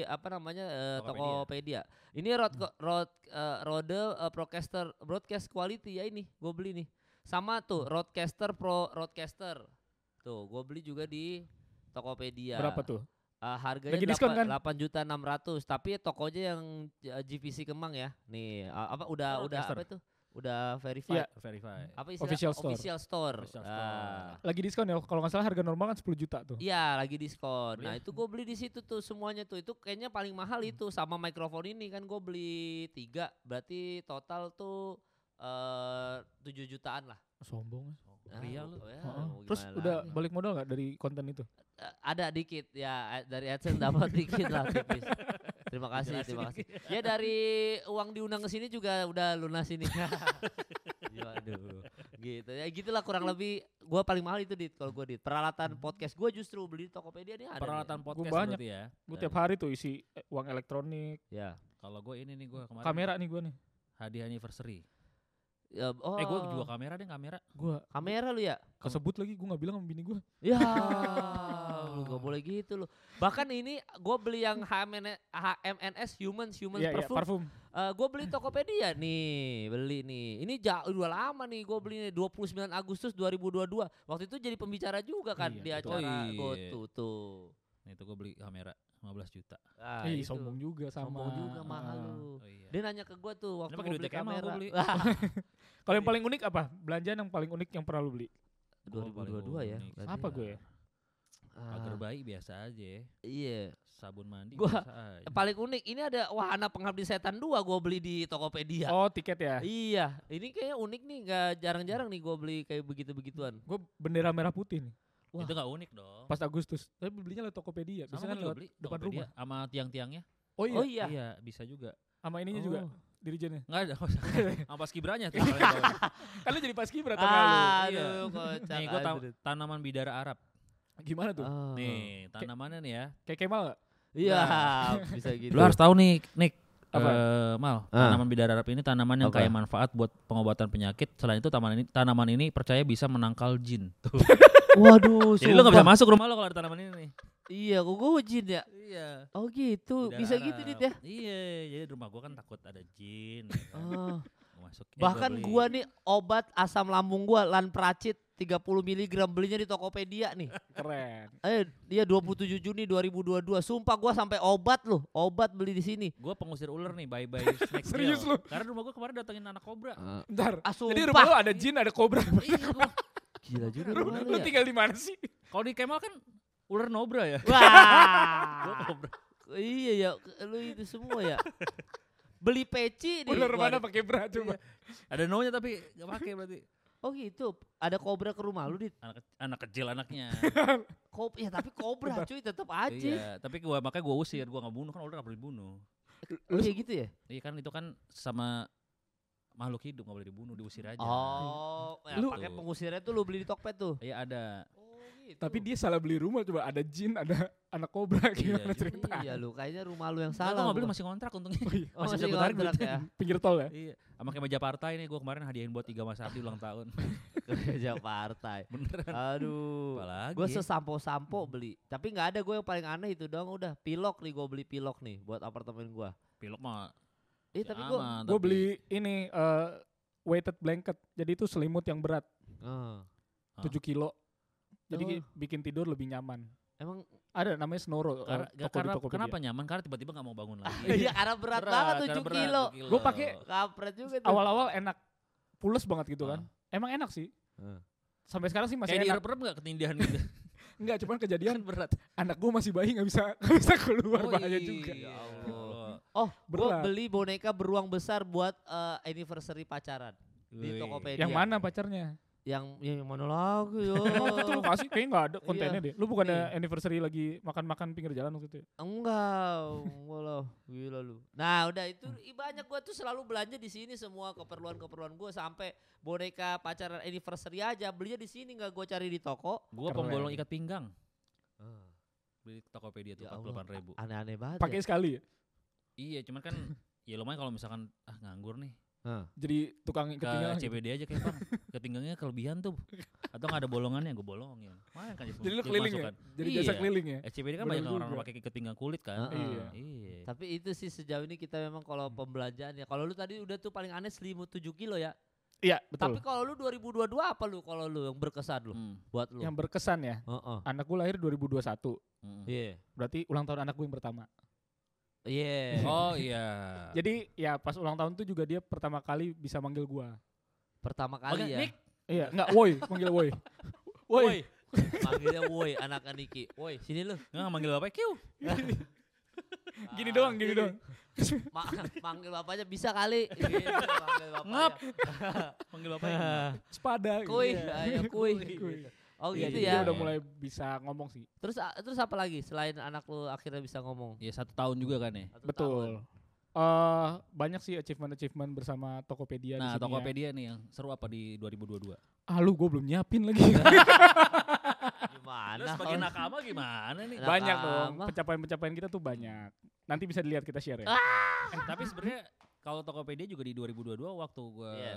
Speaker 3: apa namanya eh,
Speaker 1: Tokopedia.
Speaker 3: Tokopedia. Ini rod rod eh, Rode eh, Procaster Broadcast Quality ya ini gue beli
Speaker 2: Hmm.
Speaker 3: nih. Sama tuh Rodecaster Pro Rodecaster. Tuh gue beli juga di Tokopedia.
Speaker 2: Berapa tuh?
Speaker 3: Eh, harganya
Speaker 2: Lagi diskon kan?
Speaker 3: 8 juta enam ratus, tapi tokonya yang eh, GVC Kemang ya. Nih, eh, apa
Speaker 1: Oh,
Speaker 3: udah udah
Speaker 1: tester.
Speaker 3: apa itu? Udah verified.
Speaker 1: Verify.
Speaker 3: Apa istilah?
Speaker 2: Iya. Official store.
Speaker 3: Official store.
Speaker 1: Official
Speaker 3: Ah.
Speaker 1: store.
Speaker 2: Lagi diskon ya kalau nggak salah harga normal kan 10 juta tuh.
Speaker 3: Iya lagi diskon.
Speaker 1: Beli
Speaker 3: Nah
Speaker 1: ya.
Speaker 3: itu gue beli di situ tuh semuanya tuh itu kayaknya paling mahal itu sama mikrofon ini kan gue beli tiga berarti total tuh eh, tujuh jutaan lah.
Speaker 2: Sombong.
Speaker 3: Ah,
Speaker 1: Ria Iya lu.
Speaker 3: oh ya,
Speaker 2: Heeh.
Speaker 3: mau
Speaker 2: Terus
Speaker 3: gimana
Speaker 2: udah
Speaker 3: lagi?
Speaker 2: balik modal nggak dari konten itu?
Speaker 3: Eh, ada dikit ya eh, dari adsense dapat dikit lah tipis. Terima kasih,
Speaker 1: Jelasin
Speaker 3: terima kasih. Ya dari uang diundang ke sini juga udah lunas ini. Waduh, gitu ya gitulah kurang lebih. Gua paling mahal itu dit kalau gua dit peralatan podcast gua justru beli di Tokopedia nih ada. nih.
Speaker 1: Peralatan podcast
Speaker 2: banyak.
Speaker 1: berarti ya.
Speaker 2: Gue tiap hari tuh isi eh, uang elektronik,
Speaker 3: Ya.
Speaker 1: Kalau gue ini nih gue kemarin
Speaker 2: kamera nih gue nih.
Speaker 1: hadiah anniversary.
Speaker 3: Ya, oh.
Speaker 1: Eh gue juga kamera deh kamera.
Speaker 2: Gue
Speaker 3: Kamera lu ya?
Speaker 2: kesebut lagi gue nggak bilang sama bini gue.
Speaker 3: Ya, lu gak boleh gitu lu. Bahkan ini gue beli yang HMN HMNS Humans Humans
Speaker 2: Iya iya
Speaker 3: Perfume.
Speaker 2: parfum.
Speaker 3: gue beli Tokopedia nih, beli nih. Ini jauh udah lama nih gue beli nih 29 Agustus 2022. Waktu itu jadi pembicara juga kan
Speaker 2: Iya,
Speaker 3: di
Speaker 1: betul.
Speaker 3: acara
Speaker 1: Oh, iya.
Speaker 3: GoTo tuh.
Speaker 1: Nih tuh gue beli kamera 15 juta.
Speaker 3: Ah,
Speaker 2: Ih
Speaker 3: itu.
Speaker 2: sombong juga sama. Ah.
Speaker 3: Sombong juga mahal
Speaker 2: Heeh.
Speaker 3: lu.
Speaker 1: Oh iya.
Speaker 3: Dia nanya ke gue tuh waktu
Speaker 1: pakai
Speaker 3: gue
Speaker 1: duit
Speaker 3: beli
Speaker 1: TKM aku
Speaker 3: kamera.
Speaker 1: beli.
Speaker 2: Oh, Kalau yang paling unik apa? Belanjaan yang paling unik yang pernah lu beli?
Speaker 1: Gua paling
Speaker 3: 2022 ya.
Speaker 1: unik.
Speaker 3: berarti.
Speaker 2: Apa gue ya?
Speaker 3: Ah,
Speaker 1: Pagar bayi biasa aja.
Speaker 3: Iya.
Speaker 1: Sabun mandi
Speaker 3: Gua-
Speaker 1: biasa aja.
Speaker 3: Paling unik ini ada wahana pengabdi setan 2 gue beli di Tokopedia.
Speaker 2: Oh tiket ya.
Speaker 3: Iya, ini kayaknya unik nih, nggak jarang-jarang nih gue beli kayak begitu-begituan.
Speaker 2: Gue bendera merah putih nih.
Speaker 3: Wah.
Speaker 1: Itu gak unik
Speaker 3: Oh.
Speaker 1: dong.
Speaker 2: Pas Agustus. Tapi belinya lewat Tokopedia.
Speaker 1: Sama
Speaker 2: Biasanya
Speaker 1: gua
Speaker 2: kan
Speaker 1: juga
Speaker 2: lewat
Speaker 1: beli
Speaker 2: depan
Speaker 1: Tokopedia
Speaker 2: rumah.
Speaker 1: Sama tiang-tiangnya.
Speaker 2: Oh iya.
Speaker 3: Oh iya,
Speaker 1: Iya bisa juga.
Speaker 2: Sama ininya juga.
Speaker 3: Oh.
Speaker 2: Dirijennya.
Speaker 1: Enggak ada. nggak usah. Sama pas kibranya tuh. paling bawah.
Speaker 2: Kan lu jadi paskibra sama lu.
Speaker 3: Ah,
Speaker 1: Iya.
Speaker 3: aduh, kocak.
Speaker 1: Nih gue
Speaker 3: aduh.
Speaker 1: tanaman bidara Arab.
Speaker 2: Gimana tuh?
Speaker 3: Ah.
Speaker 1: Nih tanamannya nih ya.
Speaker 2: Kayak Kemal gak?
Speaker 3: Iya,
Speaker 1: Nah.
Speaker 3: bisa gitu.
Speaker 1: Lu harus tahu nih, Nick.
Speaker 2: Apa?
Speaker 1: Eh, Mal,
Speaker 3: Ah.
Speaker 1: tanaman bidara Arab ini tanaman yang
Speaker 3: Apa?
Speaker 1: kaya manfaat buat pengobatan penyakit. Selain itu tanaman ini tanaman ini percaya bisa menangkal jin. Tuh.
Speaker 3: Waduh,
Speaker 1: Jadi lu gak bisa
Speaker 3: sumpah.
Speaker 1: masuk rumah lo kalau ada tanaman ini nih.
Speaker 3: Iya, kok gue jin ya?
Speaker 1: Iya.
Speaker 3: Oh gitu, bisa gitu dit ya?
Speaker 1: Iya, jadi di rumah gua kan takut ada jin. ya kan.
Speaker 3: Ah,
Speaker 1: Gua masuk. eh,
Speaker 3: Bahkan
Speaker 1: beli.
Speaker 3: gua nih obat asam lambung gua Lanpracit 30 mg belinya di Tokopedia nih.
Speaker 2: Keren.
Speaker 3: Eh, dia 27 Juni 2022. Sumpah gua sampai obat loh, obat beli di sini.
Speaker 1: Gua pengusir ular nih, bye bye snack
Speaker 2: Serius
Speaker 1: Hill.
Speaker 2: lu?
Speaker 1: Karena rumah gua kemarin datengin anak kobra.
Speaker 2: Bentar.
Speaker 3: Ah,
Speaker 2: Jadi rumah lu
Speaker 3: sumpah.
Speaker 2: ada jin, ada kobra.
Speaker 1: iya, gua.
Speaker 3: Gila juga
Speaker 2: Lu,
Speaker 3: rumah
Speaker 2: lu
Speaker 3: lu ya.
Speaker 2: tinggal di mana sih?
Speaker 1: Kalau di Kemal kan ular nobra ya. Gua
Speaker 3: Wah.
Speaker 1: kobra.
Speaker 3: iya ya, ke- lu itu semua ya. Beli peci di
Speaker 2: Ular
Speaker 3: gua
Speaker 2: mana
Speaker 3: ada-
Speaker 2: pakai bra coba.
Speaker 1: Ada no-nya tapi gak pakai berarti.
Speaker 3: Oh gitu, ada kobra ke rumah lu di
Speaker 1: Anak ke- anak kecil anaknya.
Speaker 3: kob ya tapi kobra cuy tetap aja.
Speaker 1: iya, tapi gua makanya gua usir, gua nggak bunuh kan ular nggak boleh dibunuh.
Speaker 3: Oh iya gitu ya.
Speaker 1: Iya kan itu kan sama makhluk hidup nggak boleh dibunuh, diusir aja.
Speaker 3: Oh, ya,
Speaker 2: Lu-
Speaker 3: pakai pengusirnya tuh lu beli di Tokped tuh.
Speaker 1: Iya ada.
Speaker 3: Oh gitu.
Speaker 2: Tapi dia salah beli rumah coba. Ada jin, ada anak kobra. Gimana
Speaker 1: juga.
Speaker 2: cerita?
Speaker 3: Iya lu kayaknya rumah lu yang
Speaker 1: Salah. Gua
Speaker 3: salah.
Speaker 1: nggak beli
Speaker 3: gua.
Speaker 1: masih kontrak untungnya.
Speaker 2: Oh iya.
Speaker 3: Oh,
Speaker 1: masih
Speaker 3: masih
Speaker 1: dapat harga
Speaker 3: kontrak ya.
Speaker 2: Pinggir tol ya?
Speaker 1: Iya, sama kayak Jakarta ini gua kemarin hadiahin buat tiga Mas Abdi ulang tahun.
Speaker 3: Kerja partai.
Speaker 1: Beneran.
Speaker 3: Aduh.
Speaker 1: Apalagi.
Speaker 3: Gue
Speaker 1: Hmm.
Speaker 3: sesampo-sampo beli, tapi nggak ada gue yang paling aneh itu doang udah pilok nih gue beli pilok nih buat apartemen gue.
Speaker 1: pilok mah.
Speaker 3: Eh tapi gue,
Speaker 2: Gue beli ini eh, weighted blanket. Jadi itu selimut yang berat
Speaker 1: Hah?
Speaker 2: 7 kilo. Jadi
Speaker 3: Ah. Oh.
Speaker 2: bikin tidur lebih nyaman.
Speaker 3: emang
Speaker 2: Ada namanya Snoro.
Speaker 1: karena,
Speaker 2: eh, toko di
Speaker 1: karena
Speaker 2: Tokopedia.
Speaker 1: kenapa nyaman? Karena tiba-tiba nggak mau bangun lagi.
Speaker 3: Iya karena berat, banget
Speaker 1: karena berat,
Speaker 3: 7 kilo.
Speaker 1: tujuh kilo.
Speaker 2: Gua pakai
Speaker 3: Kampret juga tuh.
Speaker 2: Awal-awal enak. Pules banget gitu kan. Emang enak sih.
Speaker 3: Heeh.
Speaker 2: Sampai sekarang sih masih
Speaker 1: Kayak
Speaker 2: enak.
Speaker 1: diirep-irep nggak ketindihan gitu.
Speaker 2: Enggak, cuman kejadian
Speaker 1: Kan berat.
Speaker 2: anak gue masih bayi nggak bisa nggak bisa keluar bahaya
Speaker 1: Oi,
Speaker 2: juga.
Speaker 1: Ya Allah.
Speaker 3: Oh, gue
Speaker 2: Berat.
Speaker 3: beli boneka beruang besar buat eh, anniversary pacaran di
Speaker 1: Wih.
Speaker 3: Tokopedia.
Speaker 2: Yang mana pacarnya?
Speaker 3: Yang yang mana lagi? yo?
Speaker 2: Oh, itu lu kasih kayaknya nggak ada kontennya deh. Lu bukan
Speaker 3: Nih.
Speaker 2: ya?
Speaker 3: Nah, Ya
Speaker 2: ya?
Speaker 1: Iya, kan ya ah, kan ya, Eh, kan? Iya.
Speaker 2: gitu? Iya. ya?
Speaker 3: ya? Iya.
Speaker 2: Iya,
Speaker 3: ya. Tapi
Speaker 2: betul.
Speaker 3: kalau lu 2022 apa lu kalau lu yang berkesan lu
Speaker 1: Hmm,
Speaker 3: buat lu?
Speaker 2: Yang berkesan ya.
Speaker 3: Heeh.
Speaker 2: Anak gue lahir 2021.
Speaker 1: hmm.
Speaker 3: Iya.
Speaker 2: Berarti ulang tahun anak gue yang pertama.
Speaker 3: Iya.
Speaker 1: Oh iya.
Speaker 2: Jadi ya pas ulang tahun tuh juga dia pertama kali bisa manggil gua.
Speaker 3: Pertama
Speaker 1: Oke,
Speaker 3: kali ya.
Speaker 1: Nick.
Speaker 2: Iya, enggak woi, manggil woi. Woi.
Speaker 3: Manggilnya woi anak Aniki. Woi, sini lu.
Speaker 1: Nggak manggil bapak Q.
Speaker 2: Gini doang,
Speaker 3: Ah.
Speaker 2: gini doang.
Speaker 3: Ma- manggil bapaknya bisa kali. Gitu, manggil bapaknya.
Speaker 1: Ngap. Manggil bapak Q.
Speaker 2: Sepada.
Speaker 3: Kuy,
Speaker 2: gitu.
Speaker 3: ayo kuy.
Speaker 2: Kuy.
Speaker 3: Oh
Speaker 1: Iya,
Speaker 2: Jadi
Speaker 3: gitu
Speaker 2: Dia
Speaker 3: ya.
Speaker 2: udah mulai bisa ngomong sih.
Speaker 3: Terus a- terus apa lagi selain anak lu akhirnya bisa ngomong?
Speaker 1: Ya satu tahun juga kan ya.
Speaker 3: Satu tahun.
Speaker 2: Betul. Eh banyak sih achievement-achievement bersama Tokopedia di
Speaker 1: Nah,
Speaker 2: sini. ya.
Speaker 1: Tokopedia nih yang seru apa di 2022?
Speaker 2: Ah lu gue belum nyiapin lagi.
Speaker 3: Gimana?
Speaker 1: Terus sebagai
Speaker 3: kalau-
Speaker 1: nakama gimana nih?
Speaker 3: Nah,
Speaker 2: banyak dong.
Speaker 3: Nakama.
Speaker 2: Pencapaian-pencapaian kita tuh banyak. Nanti bisa dilihat kita share ya.
Speaker 1: Eh, Tapi sebenarnya kalau Tokopedia juga di 2022 waktu gue
Speaker 3: Iya.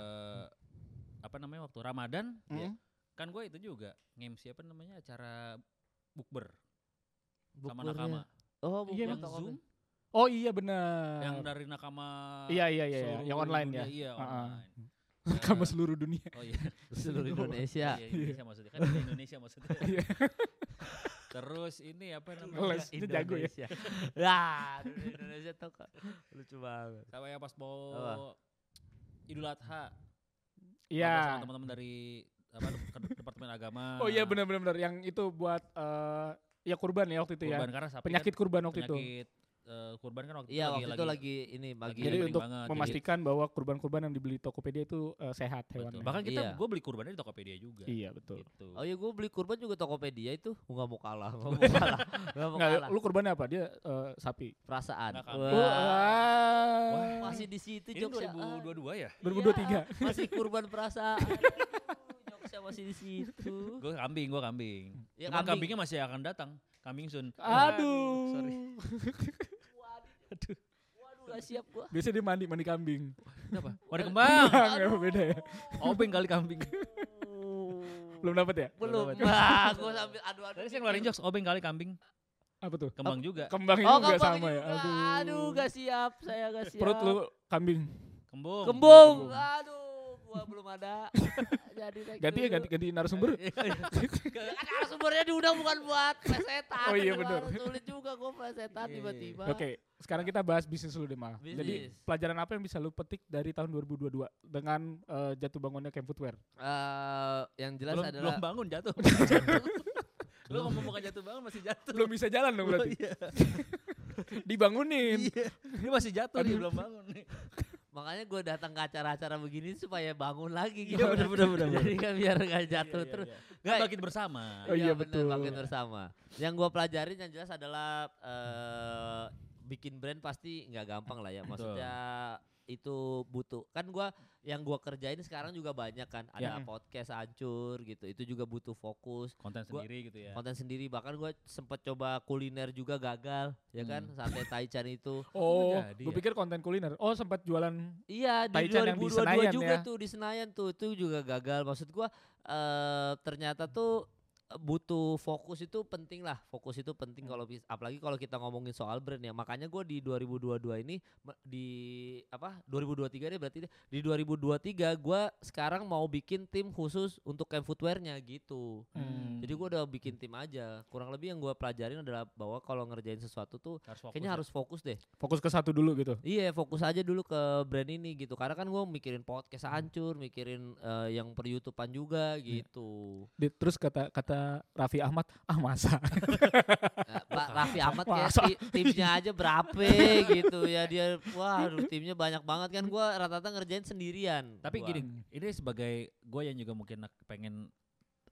Speaker 1: apa namanya waktu Ramadan
Speaker 2: Hmm?
Speaker 1: kan gue itu juga nge-MC apa namanya acara bukber sama
Speaker 3: Bukurnya.
Speaker 1: nakama
Speaker 3: Oh, bukur
Speaker 2: Iya,
Speaker 1: yang
Speaker 3: toko
Speaker 1: zoom
Speaker 2: Oh iya benar.
Speaker 1: yang dari nakama
Speaker 2: Iya iya iya, iya.
Speaker 1: seluruh
Speaker 2: yang online
Speaker 1: dunia,
Speaker 2: ya.
Speaker 1: iya
Speaker 2: Ah, ah.
Speaker 1: online Eh,
Speaker 2: Kamu seluruh dunia.
Speaker 1: oh iya
Speaker 3: seluruh
Speaker 1: Iya,
Speaker 3: Indonesia.
Speaker 1: Indonesia maksudnya kan dari Indonesia maksudnya
Speaker 2: Iya.
Speaker 1: terus ini apa namanya
Speaker 2: Les, dia jago ya.
Speaker 3: Indonesia. Lah, seluruh Indonesia toko. Lucu banget.
Speaker 1: sama yang pas mau
Speaker 3: Apa?
Speaker 1: Idul Adha
Speaker 2: Iya.
Speaker 1: ngobrol sama teman-teman dari apa Dep- Departemen Agama
Speaker 2: Oh iya benar benar benar yang itu buat eh ya kurban ya waktu itu
Speaker 1: kurban
Speaker 2: ya.
Speaker 1: karena sapi
Speaker 2: Penyakit
Speaker 1: kan,
Speaker 2: kurban waktu itu.
Speaker 1: penyakit eh, kurban kan waktu
Speaker 3: Iya, waktu itu lagi ini bagi
Speaker 2: Jadi
Speaker 1: penting
Speaker 2: untuk
Speaker 1: banget, Iya,
Speaker 2: Memastikan bahwa kurban-kurban yang dibeli Tokopedia itu eh, sehat
Speaker 1: Betul.
Speaker 2: hewannya.
Speaker 1: Bahkan kita,
Speaker 3: Iya.
Speaker 1: gue beli kurbannya di Tokopedia juga.
Speaker 2: Iya betul.
Speaker 1: Gitu.
Speaker 3: Oh iya gue beli kurban juga Tokopedia itu Gua nggak mau kalah Gak mau kalah Gak mau kalah
Speaker 2: Enggak, lu kurbannya apa? Dia eh, sapi.
Speaker 3: Perasaan
Speaker 1: Nggak kalah.
Speaker 2: Oh,
Speaker 3: Wah.
Speaker 2: ah.
Speaker 1: Eh, Wah.
Speaker 3: Masih di situ
Speaker 1: Ini
Speaker 3: jokesnya
Speaker 1: 2022 ya?
Speaker 3: Ah,
Speaker 2: 2023.
Speaker 3: iya, Masih kurban perasaan Aduh, Jokesnya masih di situ
Speaker 1: Gue kambing, gue kambing.
Speaker 3: Ya,
Speaker 1: Cuman
Speaker 3: kambing.
Speaker 1: kambingnya masih akan datang. Kambing sun.
Speaker 2: Aduh.
Speaker 1: Sorry.
Speaker 3: Waduh gak siap gua
Speaker 2: Biasanya dia mandi mandi kambing.
Speaker 1: Kenapa? Wadah kembang.
Speaker 2: Enggak beda ya.
Speaker 1: Obeng kali kambing.
Speaker 2: Belum dapat ya?
Speaker 3: Belum
Speaker 1: Belum
Speaker 3: Wah gue sambil adu-adu
Speaker 1: Tadi saya ngeluarin jokes, obeng kali kambing.
Speaker 2: Apa tuh?
Speaker 1: Kembang juga.
Speaker 2: Kembang
Speaker 3: Oh
Speaker 2: juga
Speaker 3: kambing
Speaker 2: sama ya.
Speaker 3: juga.
Speaker 2: Aduh. Eh,
Speaker 3: Aduh gak siap Saya gak siap
Speaker 2: Perut lu kambing.
Speaker 1: Kembung.
Speaker 3: Kembung Aduh gua belum ada Jadi naik
Speaker 2: Ganti ya
Speaker 3: dulu.
Speaker 2: ganti ganti narasumber.
Speaker 1: Iya.
Speaker 3: Ya kan narasumbernya diundang bukan buat plesetan.
Speaker 2: Oh iya,
Speaker 3: Aduh,
Speaker 2: bener.
Speaker 3: harus Sulit juga gue plesetan
Speaker 1: Iya, iya,
Speaker 3: tiba-tiba.
Speaker 2: Oke, sekarang kita bahas bisnis dulu deh, Mal. Jadi
Speaker 3: Bisnis.
Speaker 2: pelajaran apa yang bisa lu petik dari tahun 2022 dengan eh, jatuh bangunnya Camp Footwear?
Speaker 3: Eh, yang jelas
Speaker 1: Belum,
Speaker 3: adalah
Speaker 1: belum bangun jatuh. Lu ngomong bukan jatuh bangun masih jatuh.
Speaker 2: Belum bisa jalan dong berarti.
Speaker 1: Iya.
Speaker 2: Dibangunin.
Speaker 1: Iya. Dia masih jatuh nih, belum bangun nih.
Speaker 3: makanya gue datang ke acara-acara begini supaya bangun lagi gitu.
Speaker 1: Iya, bener, bener, bener,
Speaker 3: Jadi kan biar gak jatuh
Speaker 1: Iya,
Speaker 3: terus.
Speaker 1: iya, iya.
Speaker 3: Nggak,
Speaker 1: Bangkit bersama.
Speaker 2: Oh, iya,
Speaker 3: bener,
Speaker 2: betul.
Speaker 3: bangkit bersama. Yang gue pelajarin yang jelas adalah eh bikin brand pasti nggak gampang lah ya. Maksudnya itu butuh kan gua yang gua kerjain sekarang juga banyak kan
Speaker 2: Ya.
Speaker 3: ada
Speaker 1: Iya.
Speaker 3: podcast hancur gitu itu juga butuh fokus
Speaker 1: Konten
Speaker 3: Gua-
Speaker 1: sendiri gitu ya.
Speaker 3: konten sendiri bahkan gue sempet coba kuliner juga gagal ya kan
Speaker 1: Hmm.
Speaker 3: sate taichan itu
Speaker 2: Oh,
Speaker 1: jadi
Speaker 2: gue
Speaker 1: ya.
Speaker 2: pikir konten kuliner. Oh, sempat jualan.
Speaker 3: iya di
Speaker 2: Taichan yang di
Speaker 3: 2022
Speaker 2: Senayan
Speaker 3: juga
Speaker 2: ya.
Speaker 3: tuh di Senayan tuh itu juga gagal maksud gua eh ternyata tuh eh, butuh fokus itu penting lah fokus itu penting kalau bis- apalagi kalau kita ngomongin soal brand ya makanya gue di 2022 ini me- di apa 2023 deh berarti deh. di 2023 gua sekarang mau bikin tim khusus untuk camp footwearnya gitu
Speaker 2: Hmm.
Speaker 3: Jadi gua udah bikin tim aja. Kurang lebih yang gua pelajarin adalah bahwa kalau ngerjain sesuatu tuh
Speaker 1: Harus fokus.
Speaker 3: kayaknya
Speaker 1: ya.
Speaker 3: harus fokus deh.
Speaker 2: Fokus ke satu dulu gitu.
Speaker 3: Iya, fokus aja dulu ke brand ini gitu. Karena kan gua mikirin podcast hancur, mikirin eh, yang per YouTubean juga gitu.
Speaker 2: Di- terus kata kata Raffi Ahmad, ah masa.
Speaker 3: Nah, Pak Raffi Ahmad kayak
Speaker 2: Masa?
Speaker 3: ti- timnya aja berapa gitu ya dia. Wah, aduh, timnya banyak banget kan gua rata-rata ngerjain sendirian.
Speaker 1: Tapi
Speaker 3: gua.
Speaker 1: gini, ini sebagai gue yang juga mungkin nak- pengen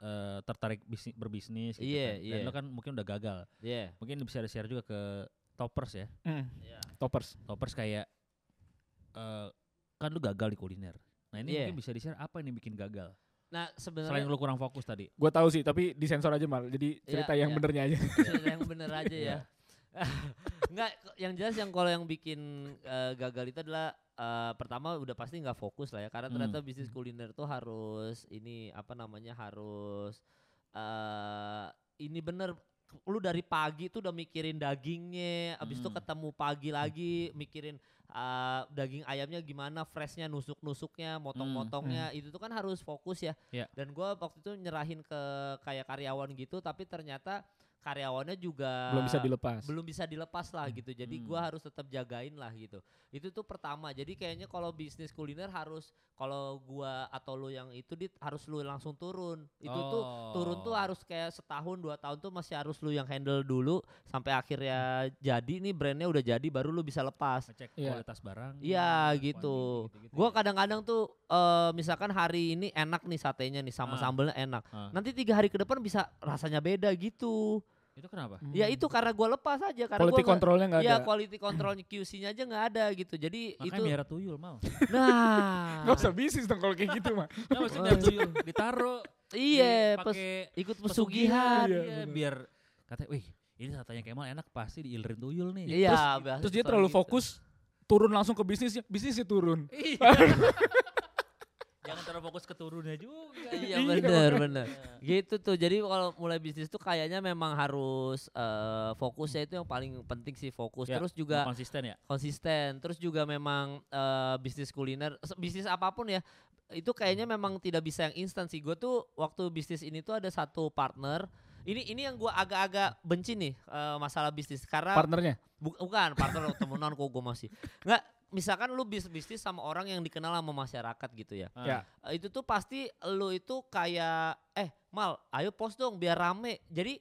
Speaker 1: eh, tertarik bisnis, berbisnis gitu kan.
Speaker 3: Iya,
Speaker 1: Dan
Speaker 3: iya.
Speaker 1: lo kan mungkin udah gagal.
Speaker 3: Iya.
Speaker 1: Mungkin bisa share juga ke toppers ya.
Speaker 2: Hmm.
Speaker 3: Iya.
Speaker 2: Toppers.
Speaker 1: Toppers kayak eh kan lu gagal di kuliner. Nah ini
Speaker 3: Iya.
Speaker 1: mungkin bisa di-share apa yang bikin gagal.
Speaker 3: Nah,
Speaker 1: Selain
Speaker 3: sebenarnya
Speaker 1: lu kurang fokus tadi.
Speaker 2: Gue tahu sih, tapi disensor aja mal. Jadi
Speaker 3: Iya,
Speaker 2: cerita yang
Speaker 3: iya.
Speaker 2: benernya aja.
Speaker 3: Cerita yang bener aja
Speaker 1: Iya.
Speaker 3: ya. Enggak, ko- yang jelas yang kalau yang bikin eh, gagal itu adalah eh, pertama udah pasti nggak fokus lah ya karena
Speaker 1: Hmm.
Speaker 3: ternyata bisnis kuliner tuh harus ini apa namanya harus eh ini bener lu dari pagi tuh udah mikirin dagingnya, abis itu
Speaker 1: Hmm.
Speaker 3: ketemu pagi lagi mikirin ah, daging ayamnya gimana, freshnya, nusuk-nusuknya, motong-motongnya, itu tuh kan harus fokus ya.
Speaker 1: Hmm. Iya.
Speaker 3: Dan gua waktu itu nyerahin ke kayak karyawan gitu, tapi ternyata karyawannya juga
Speaker 2: belum bisa dilepas.
Speaker 3: Ah, belum bisa dilepas lah gitu. Jadi gua
Speaker 1: Hmm.
Speaker 3: harus tetap jagain lah gitu. Itu tuh pertama. Jadi kayaknya kalau bisnis kuliner harus kalau gua atau lu yang itu dit harus lu langsung turun. Itu tuh turun tuh
Speaker 1: Oh.
Speaker 3: harus kayak setahun dua tahun tuh masih harus lu yang handle dulu sampai akhirnya jadi nih brandnya udah jadi baru lu bisa lepas.
Speaker 1: ngecek
Speaker 2: Iya.
Speaker 1: kualitas barang.
Speaker 3: Iya, gitu. Gua kadang-kadang tuh eh, misalkan hari ini enak nih satenya nih
Speaker 1: Ah.
Speaker 3: sama sambelnya enak.
Speaker 1: Ah.
Speaker 3: Nanti tiga hari ke depan bisa rasanya beda gitu.
Speaker 1: itu kenapa?
Speaker 3: Ya itu karena gua lepas
Speaker 2: Hmm.
Speaker 3: aja karena
Speaker 2: quality
Speaker 3: gua nggak-
Speaker 2: controlnya nggak
Speaker 3: Iya
Speaker 2: ada.
Speaker 3: quality controlnya QC-nya aja nggak ada gitu. Jadi
Speaker 1: Makanya
Speaker 3: itu
Speaker 1: miara tuyul mau.
Speaker 3: nah
Speaker 2: Gak usah bisnis dong kalau kayak gitu mah.
Speaker 1: Nggak maksudnya miara tuyul ditaruh.
Speaker 3: iya pes-
Speaker 1: pakai
Speaker 3: ikut pesugihan.
Speaker 2: Iya,
Speaker 1: iya,
Speaker 2: bener.
Speaker 1: biar katanya, wih ini katanya Kemal enak pasti diilirin tuyul nih.
Speaker 3: Iya,
Speaker 2: Terus-
Speaker 3: biasa
Speaker 2: Terus dia
Speaker 3: suara
Speaker 2: terlalu
Speaker 3: gitu.
Speaker 2: fokus turun langsung ke bisnisnya, bisnisnya turun.
Speaker 1: Iya. Jangan terlalu fokus ke turunnya juga.
Speaker 3: Iya bener bener. Gitu tuh. Jadi kalau mulai bisnis tuh kayaknya memang harus eh, fokusnya itu yang paling penting sih fokus.
Speaker 1: Ya,
Speaker 3: Terus juga
Speaker 1: Nggak konsisten ya.
Speaker 3: konsisten. Terus juga memang eh, bisnis kuliner, se- bisnis apapun ya itu kayaknya memang tidak bisa yang instan sih. Gue tuh waktu bisnis ini tuh ada satu partner. Ini ini yang gua agak-agak benci nih eh, masalah bisnis karena
Speaker 2: Partnernya.
Speaker 3: Bu- bukan partner lo, temenan kok gue masih nggak misalkan lu bis bisnis sama orang yang dikenal sama masyarakat gitu ya
Speaker 1: Ah.
Speaker 2: Ya.
Speaker 3: Eh, itu tuh pasti lu itu kayak eh mal ayo post dong biar rame jadi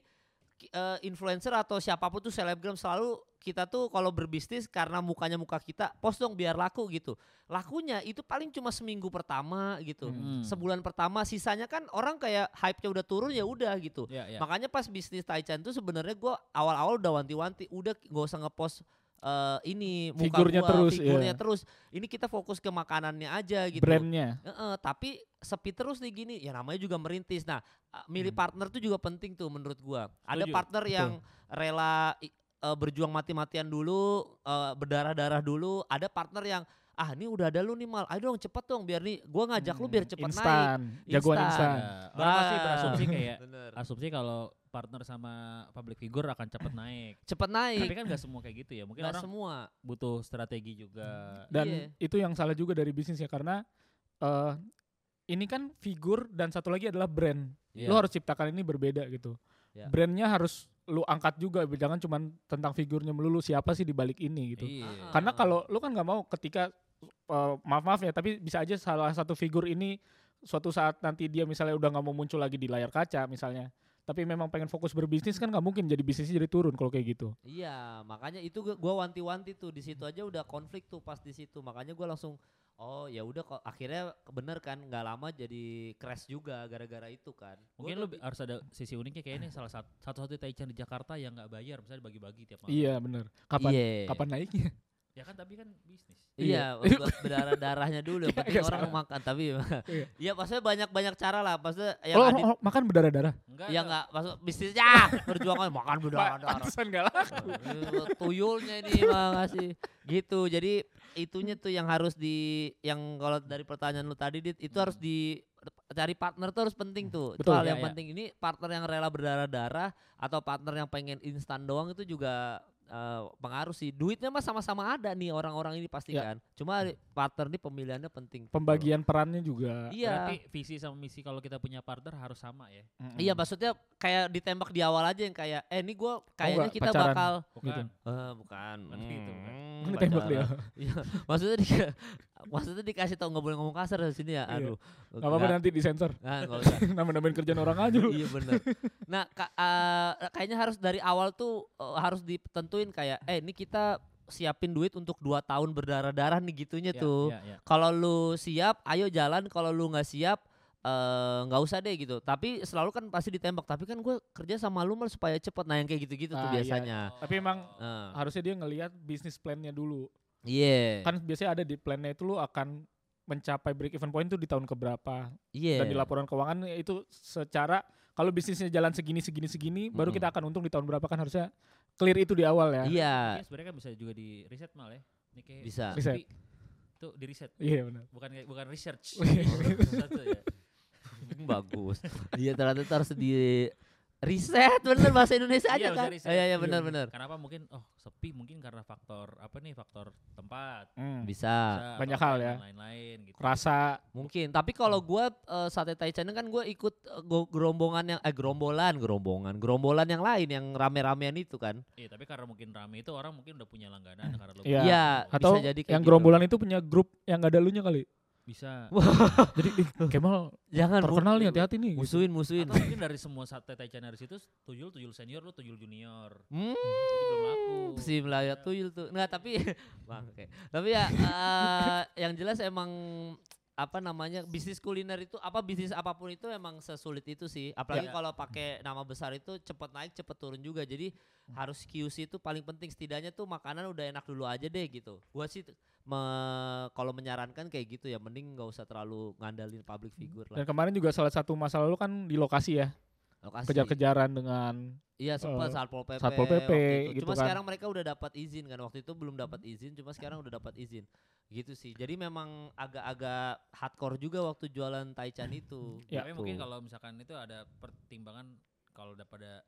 Speaker 3: ki- eh, influencer atau siapapun tuh selebgram selalu kita tuh kalau berbisnis karena mukanya muka kita post dong biar laku gitu lakunya itu paling cuma seminggu pertama gitu
Speaker 1: Hmm.
Speaker 3: sebulan pertama sisanya kan orang kayak hype-nya udah turun ya udah gitu
Speaker 1: Ya,
Speaker 2: Iya.
Speaker 1: ya.
Speaker 3: Makanya pas bisnis Taichan tuh sebenarnya gua awal-awal udah wanti-wanti, udah gak usah ngepost eh, ini muka
Speaker 2: Figurnya
Speaker 3: gua,
Speaker 2: terus,
Speaker 3: figurnya
Speaker 2: iya.
Speaker 3: terus. Ini kita fokus ke makanannya aja gitu.
Speaker 2: Brandnya.
Speaker 3: Heeh, tapi sepi terus nih gini, ya namanya juga merintis. Nah, eh, milih partner tuh juga penting tuh menurut gua.
Speaker 1: Hmm.
Speaker 3: Ada
Speaker 1: Setuju,
Speaker 3: partner
Speaker 2: betul.
Speaker 3: yang rela i- eh, berjuang mati-matian dulu, eh, berdarah-darah dulu. Ada partner yang ah ini udah ada lu nih mal, ayo dong cepet dong biar nih gua ngajak
Speaker 1: Hmm,
Speaker 3: lu biar cepet naik.
Speaker 2: Hmm, instan. Jagoan
Speaker 3: Instan.
Speaker 2: instan.
Speaker 1: Ya, Orang pasti
Speaker 3: Bah.
Speaker 1: berasumsi kayak
Speaker 3: Bener.
Speaker 1: asumsi kalau partner sama public figure akan cepat naik.
Speaker 3: Cepet naik.
Speaker 1: Tapi kan gak semua kayak gitu ya. Mungkin
Speaker 3: Iya. Nggak
Speaker 1: orang
Speaker 3: semua.
Speaker 1: butuh strategi juga.
Speaker 2: Dan
Speaker 3: Iya.
Speaker 2: itu yang salah juga dari bisnis ya karena eh ini kan figur dan satu lagi adalah brand. Lu
Speaker 3: Iya.
Speaker 2: harus ciptakan ini berbeda gitu.
Speaker 3: Iya.
Speaker 2: Brandnya harus lu angkat juga, jangan cuma tentang figurnya melulu siapa sih di balik ini gitu.
Speaker 1: Iya.
Speaker 2: Karena
Speaker 3: Ah.
Speaker 2: kalau lu kan nggak mau ketika eh, maaf maaf ya, tapi bisa aja salah satu figur ini suatu saat nanti dia misalnya udah nggak mau muncul lagi di layar kaca misalnya, tapi memang pengen fokus berbisnis kan nggak mungkin jadi bisnisnya jadi turun kalau kayak gitu.
Speaker 3: Iya, makanya itu gua- gua wanti-wanti tuh di situ aja udah konflik tuh pas di situ. Makanya gua langsung oh ya udah kok akhirnya bener kan nggak lama jadi crash juga gara-gara itu kan. Gua
Speaker 1: Mungkin
Speaker 3: udah
Speaker 1: lu bi- harus ada sisi uniknya kayak ini salah satu satu-satu Taichan di Jakarta yang nggak bayar misalnya bagi-bagi tiap malam.
Speaker 2: Iya bener.
Speaker 3: bi-
Speaker 2: Kapan
Speaker 3: Iya.
Speaker 2: kapan naiknya?
Speaker 1: Ya kan tapi kan bisnis.
Speaker 3: Iya,
Speaker 2: Iya.
Speaker 3: buat berdarah-darahnya dulu yang
Speaker 2: Nggak-
Speaker 3: penting
Speaker 2: nggak
Speaker 3: orang
Speaker 2: salah.
Speaker 3: makan tapi
Speaker 2: Iya.
Speaker 3: Iya, maksudnya banyak-banyak cara lah. Maksudnya
Speaker 2: Oh,
Speaker 3: yang Iya, adit
Speaker 2: oh, oh, makan berdarah darah.
Speaker 1: Enggak.
Speaker 3: Ya enggak, maksud bisnisnya perjuangan makan berdarah-darah.
Speaker 2: Pantesan nggak lah.
Speaker 3: Eh, tuyulnya ini mah ngasih gitu jadi itunya tuh yang harus di yang kalau dari pertanyaan lu tadi Dit, itu harus di cari partner tuh harus penting tuh itu
Speaker 2: Betul,
Speaker 3: hal
Speaker 1: ya, ya.
Speaker 3: yang penting ini partner yang rela berdarah darah atau partner yang pengen instan doang itu juga eh, pengaruh sih duitnya mah sama-sama ada nih orang-orang ini pasti
Speaker 2: Ya.
Speaker 3: kan cuma partner ini pemilihannya penting tuh.
Speaker 2: Pembagian perannya juga.
Speaker 1: Berarti
Speaker 3: iya
Speaker 1: visi sama misi kalau kita punya partner harus sama ya.
Speaker 2: Mm-mm.
Speaker 3: iya maksudnya kayak ditembak di awal aja yang kayak eh ini gua kayaknya
Speaker 2: Oh, nggak
Speaker 3: kita
Speaker 2: pacaran?
Speaker 3: bakal
Speaker 1: Bukan.
Speaker 3: eh bukan
Speaker 1: Bukan gitu, bukan.
Speaker 3: Hmm,
Speaker 2: Kan ditembak
Speaker 3: pacaran.
Speaker 2: dia.
Speaker 3: Iya, maksudnya dia, maksudnya dikasih tau nggak boleh ngomong kasar di sini ya.
Speaker 2: Iya.
Speaker 3: Aduh.
Speaker 2: Gak apa-apa nanti disensor.
Speaker 3: Nah, nggak usah.
Speaker 2: Nama-namain kerjaan orang aja lu.
Speaker 3: iya benar. Nah, ka- eh, kayaknya harus dari awal tuh eh, harus ditentuin kayak eh ini kita siapin duit untuk dua tahun berdarah-darah nih gitunya
Speaker 1: Ya,
Speaker 2: Iya,
Speaker 3: Iya tuh.
Speaker 1: ya, ya.
Speaker 3: Kalau lu siap, ayo jalan. Kalau lu nggak siap, eh, nggak usah deh gitu. Tapi selalu kan pasti ditembak. Tapi kan gue kerja sama lu mal supaya cepet. Nah yang kayak gitu-gitu tuh
Speaker 2: Ah, iya.
Speaker 3: biasanya.
Speaker 2: Tapi emang-
Speaker 1: Oh.
Speaker 3: Nah,
Speaker 2: Harusnya dia ngelihat bisnis plannya dulu.
Speaker 3: Iya.
Speaker 2: Kan biasanya ada di plannya itu lu akan mencapai break even point itu di tahun keberapa.
Speaker 3: Iya.
Speaker 2: Dan di laporan keuangan itu secara kalau bisnisnya jalan segini segini segini, baru
Speaker 3: Mm-mm.
Speaker 2: kita akan untung di tahun berapa kan harusnya clear itu di awal ya.
Speaker 3: Iya.
Speaker 1: Ini sebenarnya kan bisa juga di riset mal ya. Ini kayak
Speaker 3: Bisa.
Speaker 1: Tapi Tuh di riset,
Speaker 2: Iya benar.
Speaker 1: bukan kayak- bukan research.
Speaker 2: Iya.
Speaker 1: Satu ya.
Speaker 3: Hmm, bagus. Iya ternyata itu harus di riset bener bahasa Indonesia aja
Speaker 1: Iya,
Speaker 3: kan.
Speaker 1: riset, riset.
Speaker 3: Iya iya
Speaker 1: Iya,
Speaker 3: bener bener.
Speaker 1: Kenapa mungkin oh sepi mungkin karena faktor apa nih faktor tempat.
Speaker 2: Hmm.
Speaker 3: Bisa.
Speaker 1: bisa,
Speaker 2: banyak
Speaker 1: atau
Speaker 2: hal ya.
Speaker 1: dan Lain-lain gitu.
Speaker 2: Rasa
Speaker 3: Mungkin, tapi kalau gua eh, sate taichan kan gua ikut eh, go- gerombongan yang eh gerombolan, gerombolan, gerombolan yang lain yang rame-ramean itu kan.
Speaker 1: Iya, tapi karena mungkin rame itu orang mungkin udah punya langganan karena lo
Speaker 2: Iya.
Speaker 1: punya
Speaker 3: Iya,
Speaker 1: gitu.
Speaker 3: Bisa
Speaker 2: atau
Speaker 3: jadi kayak
Speaker 2: yang
Speaker 3: gitu.
Speaker 2: gerombolan itu punya grup yang gak ada lunya kali.
Speaker 1: bisa.
Speaker 2: Jadi ih, Kemal
Speaker 3: Jangan Bu.
Speaker 2: terkenal nih hati-hati nih. gitu.
Speaker 3: Musuhin, musuhin.
Speaker 1: Atau mungkin dari semua sate taichan dari situ tuyul tuyul senior lu tuyul junior.
Speaker 3: Hmm.
Speaker 1: Jadi belum laku.
Speaker 3: si melayat tuyul tuh nggak tapi bangke tapi ya eh, yang jelas emang apa namanya bisnis kuliner itu apa bisnis apapun itu emang sesulit itu sih apalagi
Speaker 1: Ya.
Speaker 3: kalau pakai nama besar itu cepet naik cepet turun juga jadi harus QC itu paling penting setidaknya tuh makanan udah enak dulu aja deh gitu gua sih t- me- kalau menyarankan kayak gitu ya mending nggak usah terlalu ngandalin public figure
Speaker 2: Dan
Speaker 3: lah
Speaker 2: kemarin juga salah satu masalah lu kan di lokasi ya,
Speaker 3: lokasi
Speaker 2: kejar-kejaran dengan
Speaker 3: Iya sempat
Speaker 2: Eh,
Speaker 3: Satpol PP.
Speaker 2: Satpol
Speaker 3: waktu
Speaker 2: PP
Speaker 3: itu.
Speaker 2: gitu
Speaker 3: Cuma
Speaker 2: kan.
Speaker 3: sekarang mereka udah dapat izin kan. Waktu itu belum dapat izin, cuma sekarang udah dapat izin. Gitu sih. Jadi memang agak-agak hardcore juga waktu jualan taichan itu.
Speaker 2: Ya.
Speaker 1: Tapi
Speaker 3: Gitu.
Speaker 1: mungkin kalau misalkan itu ada pertimbangan kalau udah pada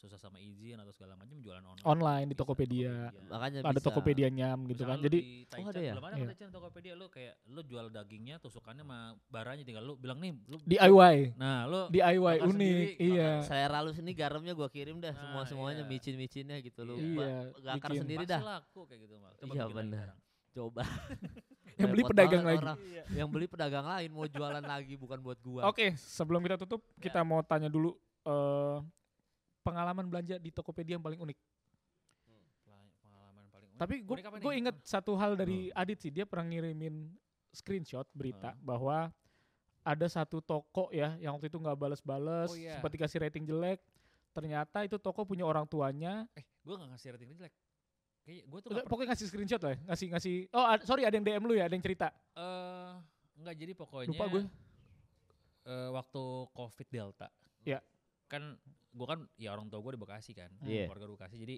Speaker 1: susah sama izin atau segala macam jualan online.
Speaker 2: Online di
Speaker 1: Bisa,
Speaker 2: Tokopedia.
Speaker 3: makanya
Speaker 2: ada
Speaker 3: bisa.
Speaker 2: Tokopedia nyam gitu
Speaker 1: Misalkan
Speaker 2: kan.
Speaker 1: lu
Speaker 2: Jadi
Speaker 1: di Taichan,
Speaker 3: ada ya?
Speaker 1: Belum ada
Speaker 2: Iya.
Speaker 1: Taichan Tokopedia lu kayak lu jual dagingnya tusukannya sama baranya tinggal lu bilang nih lu
Speaker 2: DIY,
Speaker 1: Nah, lu
Speaker 2: DIY
Speaker 1: Makan
Speaker 2: unik,
Speaker 1: sendiri,
Speaker 2: iya.
Speaker 3: Selera lu sini garamnya gua kirim dah
Speaker 1: Nah,
Speaker 3: semua semuanya
Speaker 1: iya.
Speaker 3: micin-micinnya gitu lu.
Speaker 1: Iya,
Speaker 3: Ba- Gakar
Speaker 2: bikin.
Speaker 3: sendiri
Speaker 1: pasti
Speaker 3: dah.
Speaker 1: laku kayak gitu, Mal. Coba
Speaker 3: Iya,
Speaker 1: bikin lagi
Speaker 3: benar.
Speaker 1: sekarang.
Speaker 3: Coba.
Speaker 2: Yang Ya, beli
Speaker 3: Repot
Speaker 2: pedagang
Speaker 3: banget
Speaker 2: lagi. Iya.
Speaker 3: orang. Yang beli pedagang lain mau jualan lagi bukan buat gua. Gitu ya,
Speaker 2: Oke, sebelum kita tutup, kita mau tanya dulu eh pengalaman belanja di Tokopedia yang paling unik.
Speaker 1: Hmm, Pengalaman paling unik.
Speaker 2: Tapi gue
Speaker 1: Unik apa
Speaker 2: gue
Speaker 1: nih?
Speaker 2: inget satu hal dari Adit sih, dia pernah ngirimin screenshot berita bahwa ada satu toko ya yang waktu itu nggak balas-balas,
Speaker 1: Oh, iya.
Speaker 2: sempat dikasih rating jelek. Ternyata itu toko punya orang tuanya.
Speaker 1: eh, gue gak ngasih rating jelek. Kayak gue tuh
Speaker 2: Enggak,
Speaker 1: gak pernah.
Speaker 2: pokoknya ngasih screenshot lah, ya, ngasih ngasih. Oh, ad- sorry ada yang DM lu ya, ada yang cerita.
Speaker 1: Eh, enggak jadi pokoknya.
Speaker 2: Lupa gue.
Speaker 1: eh, waktu Covid Delta.
Speaker 2: Iya.
Speaker 1: Kan gue kan ya orang tua gue di Bekasi kan.
Speaker 3: Iya.
Speaker 1: Keluarga di Bekasi. Jadi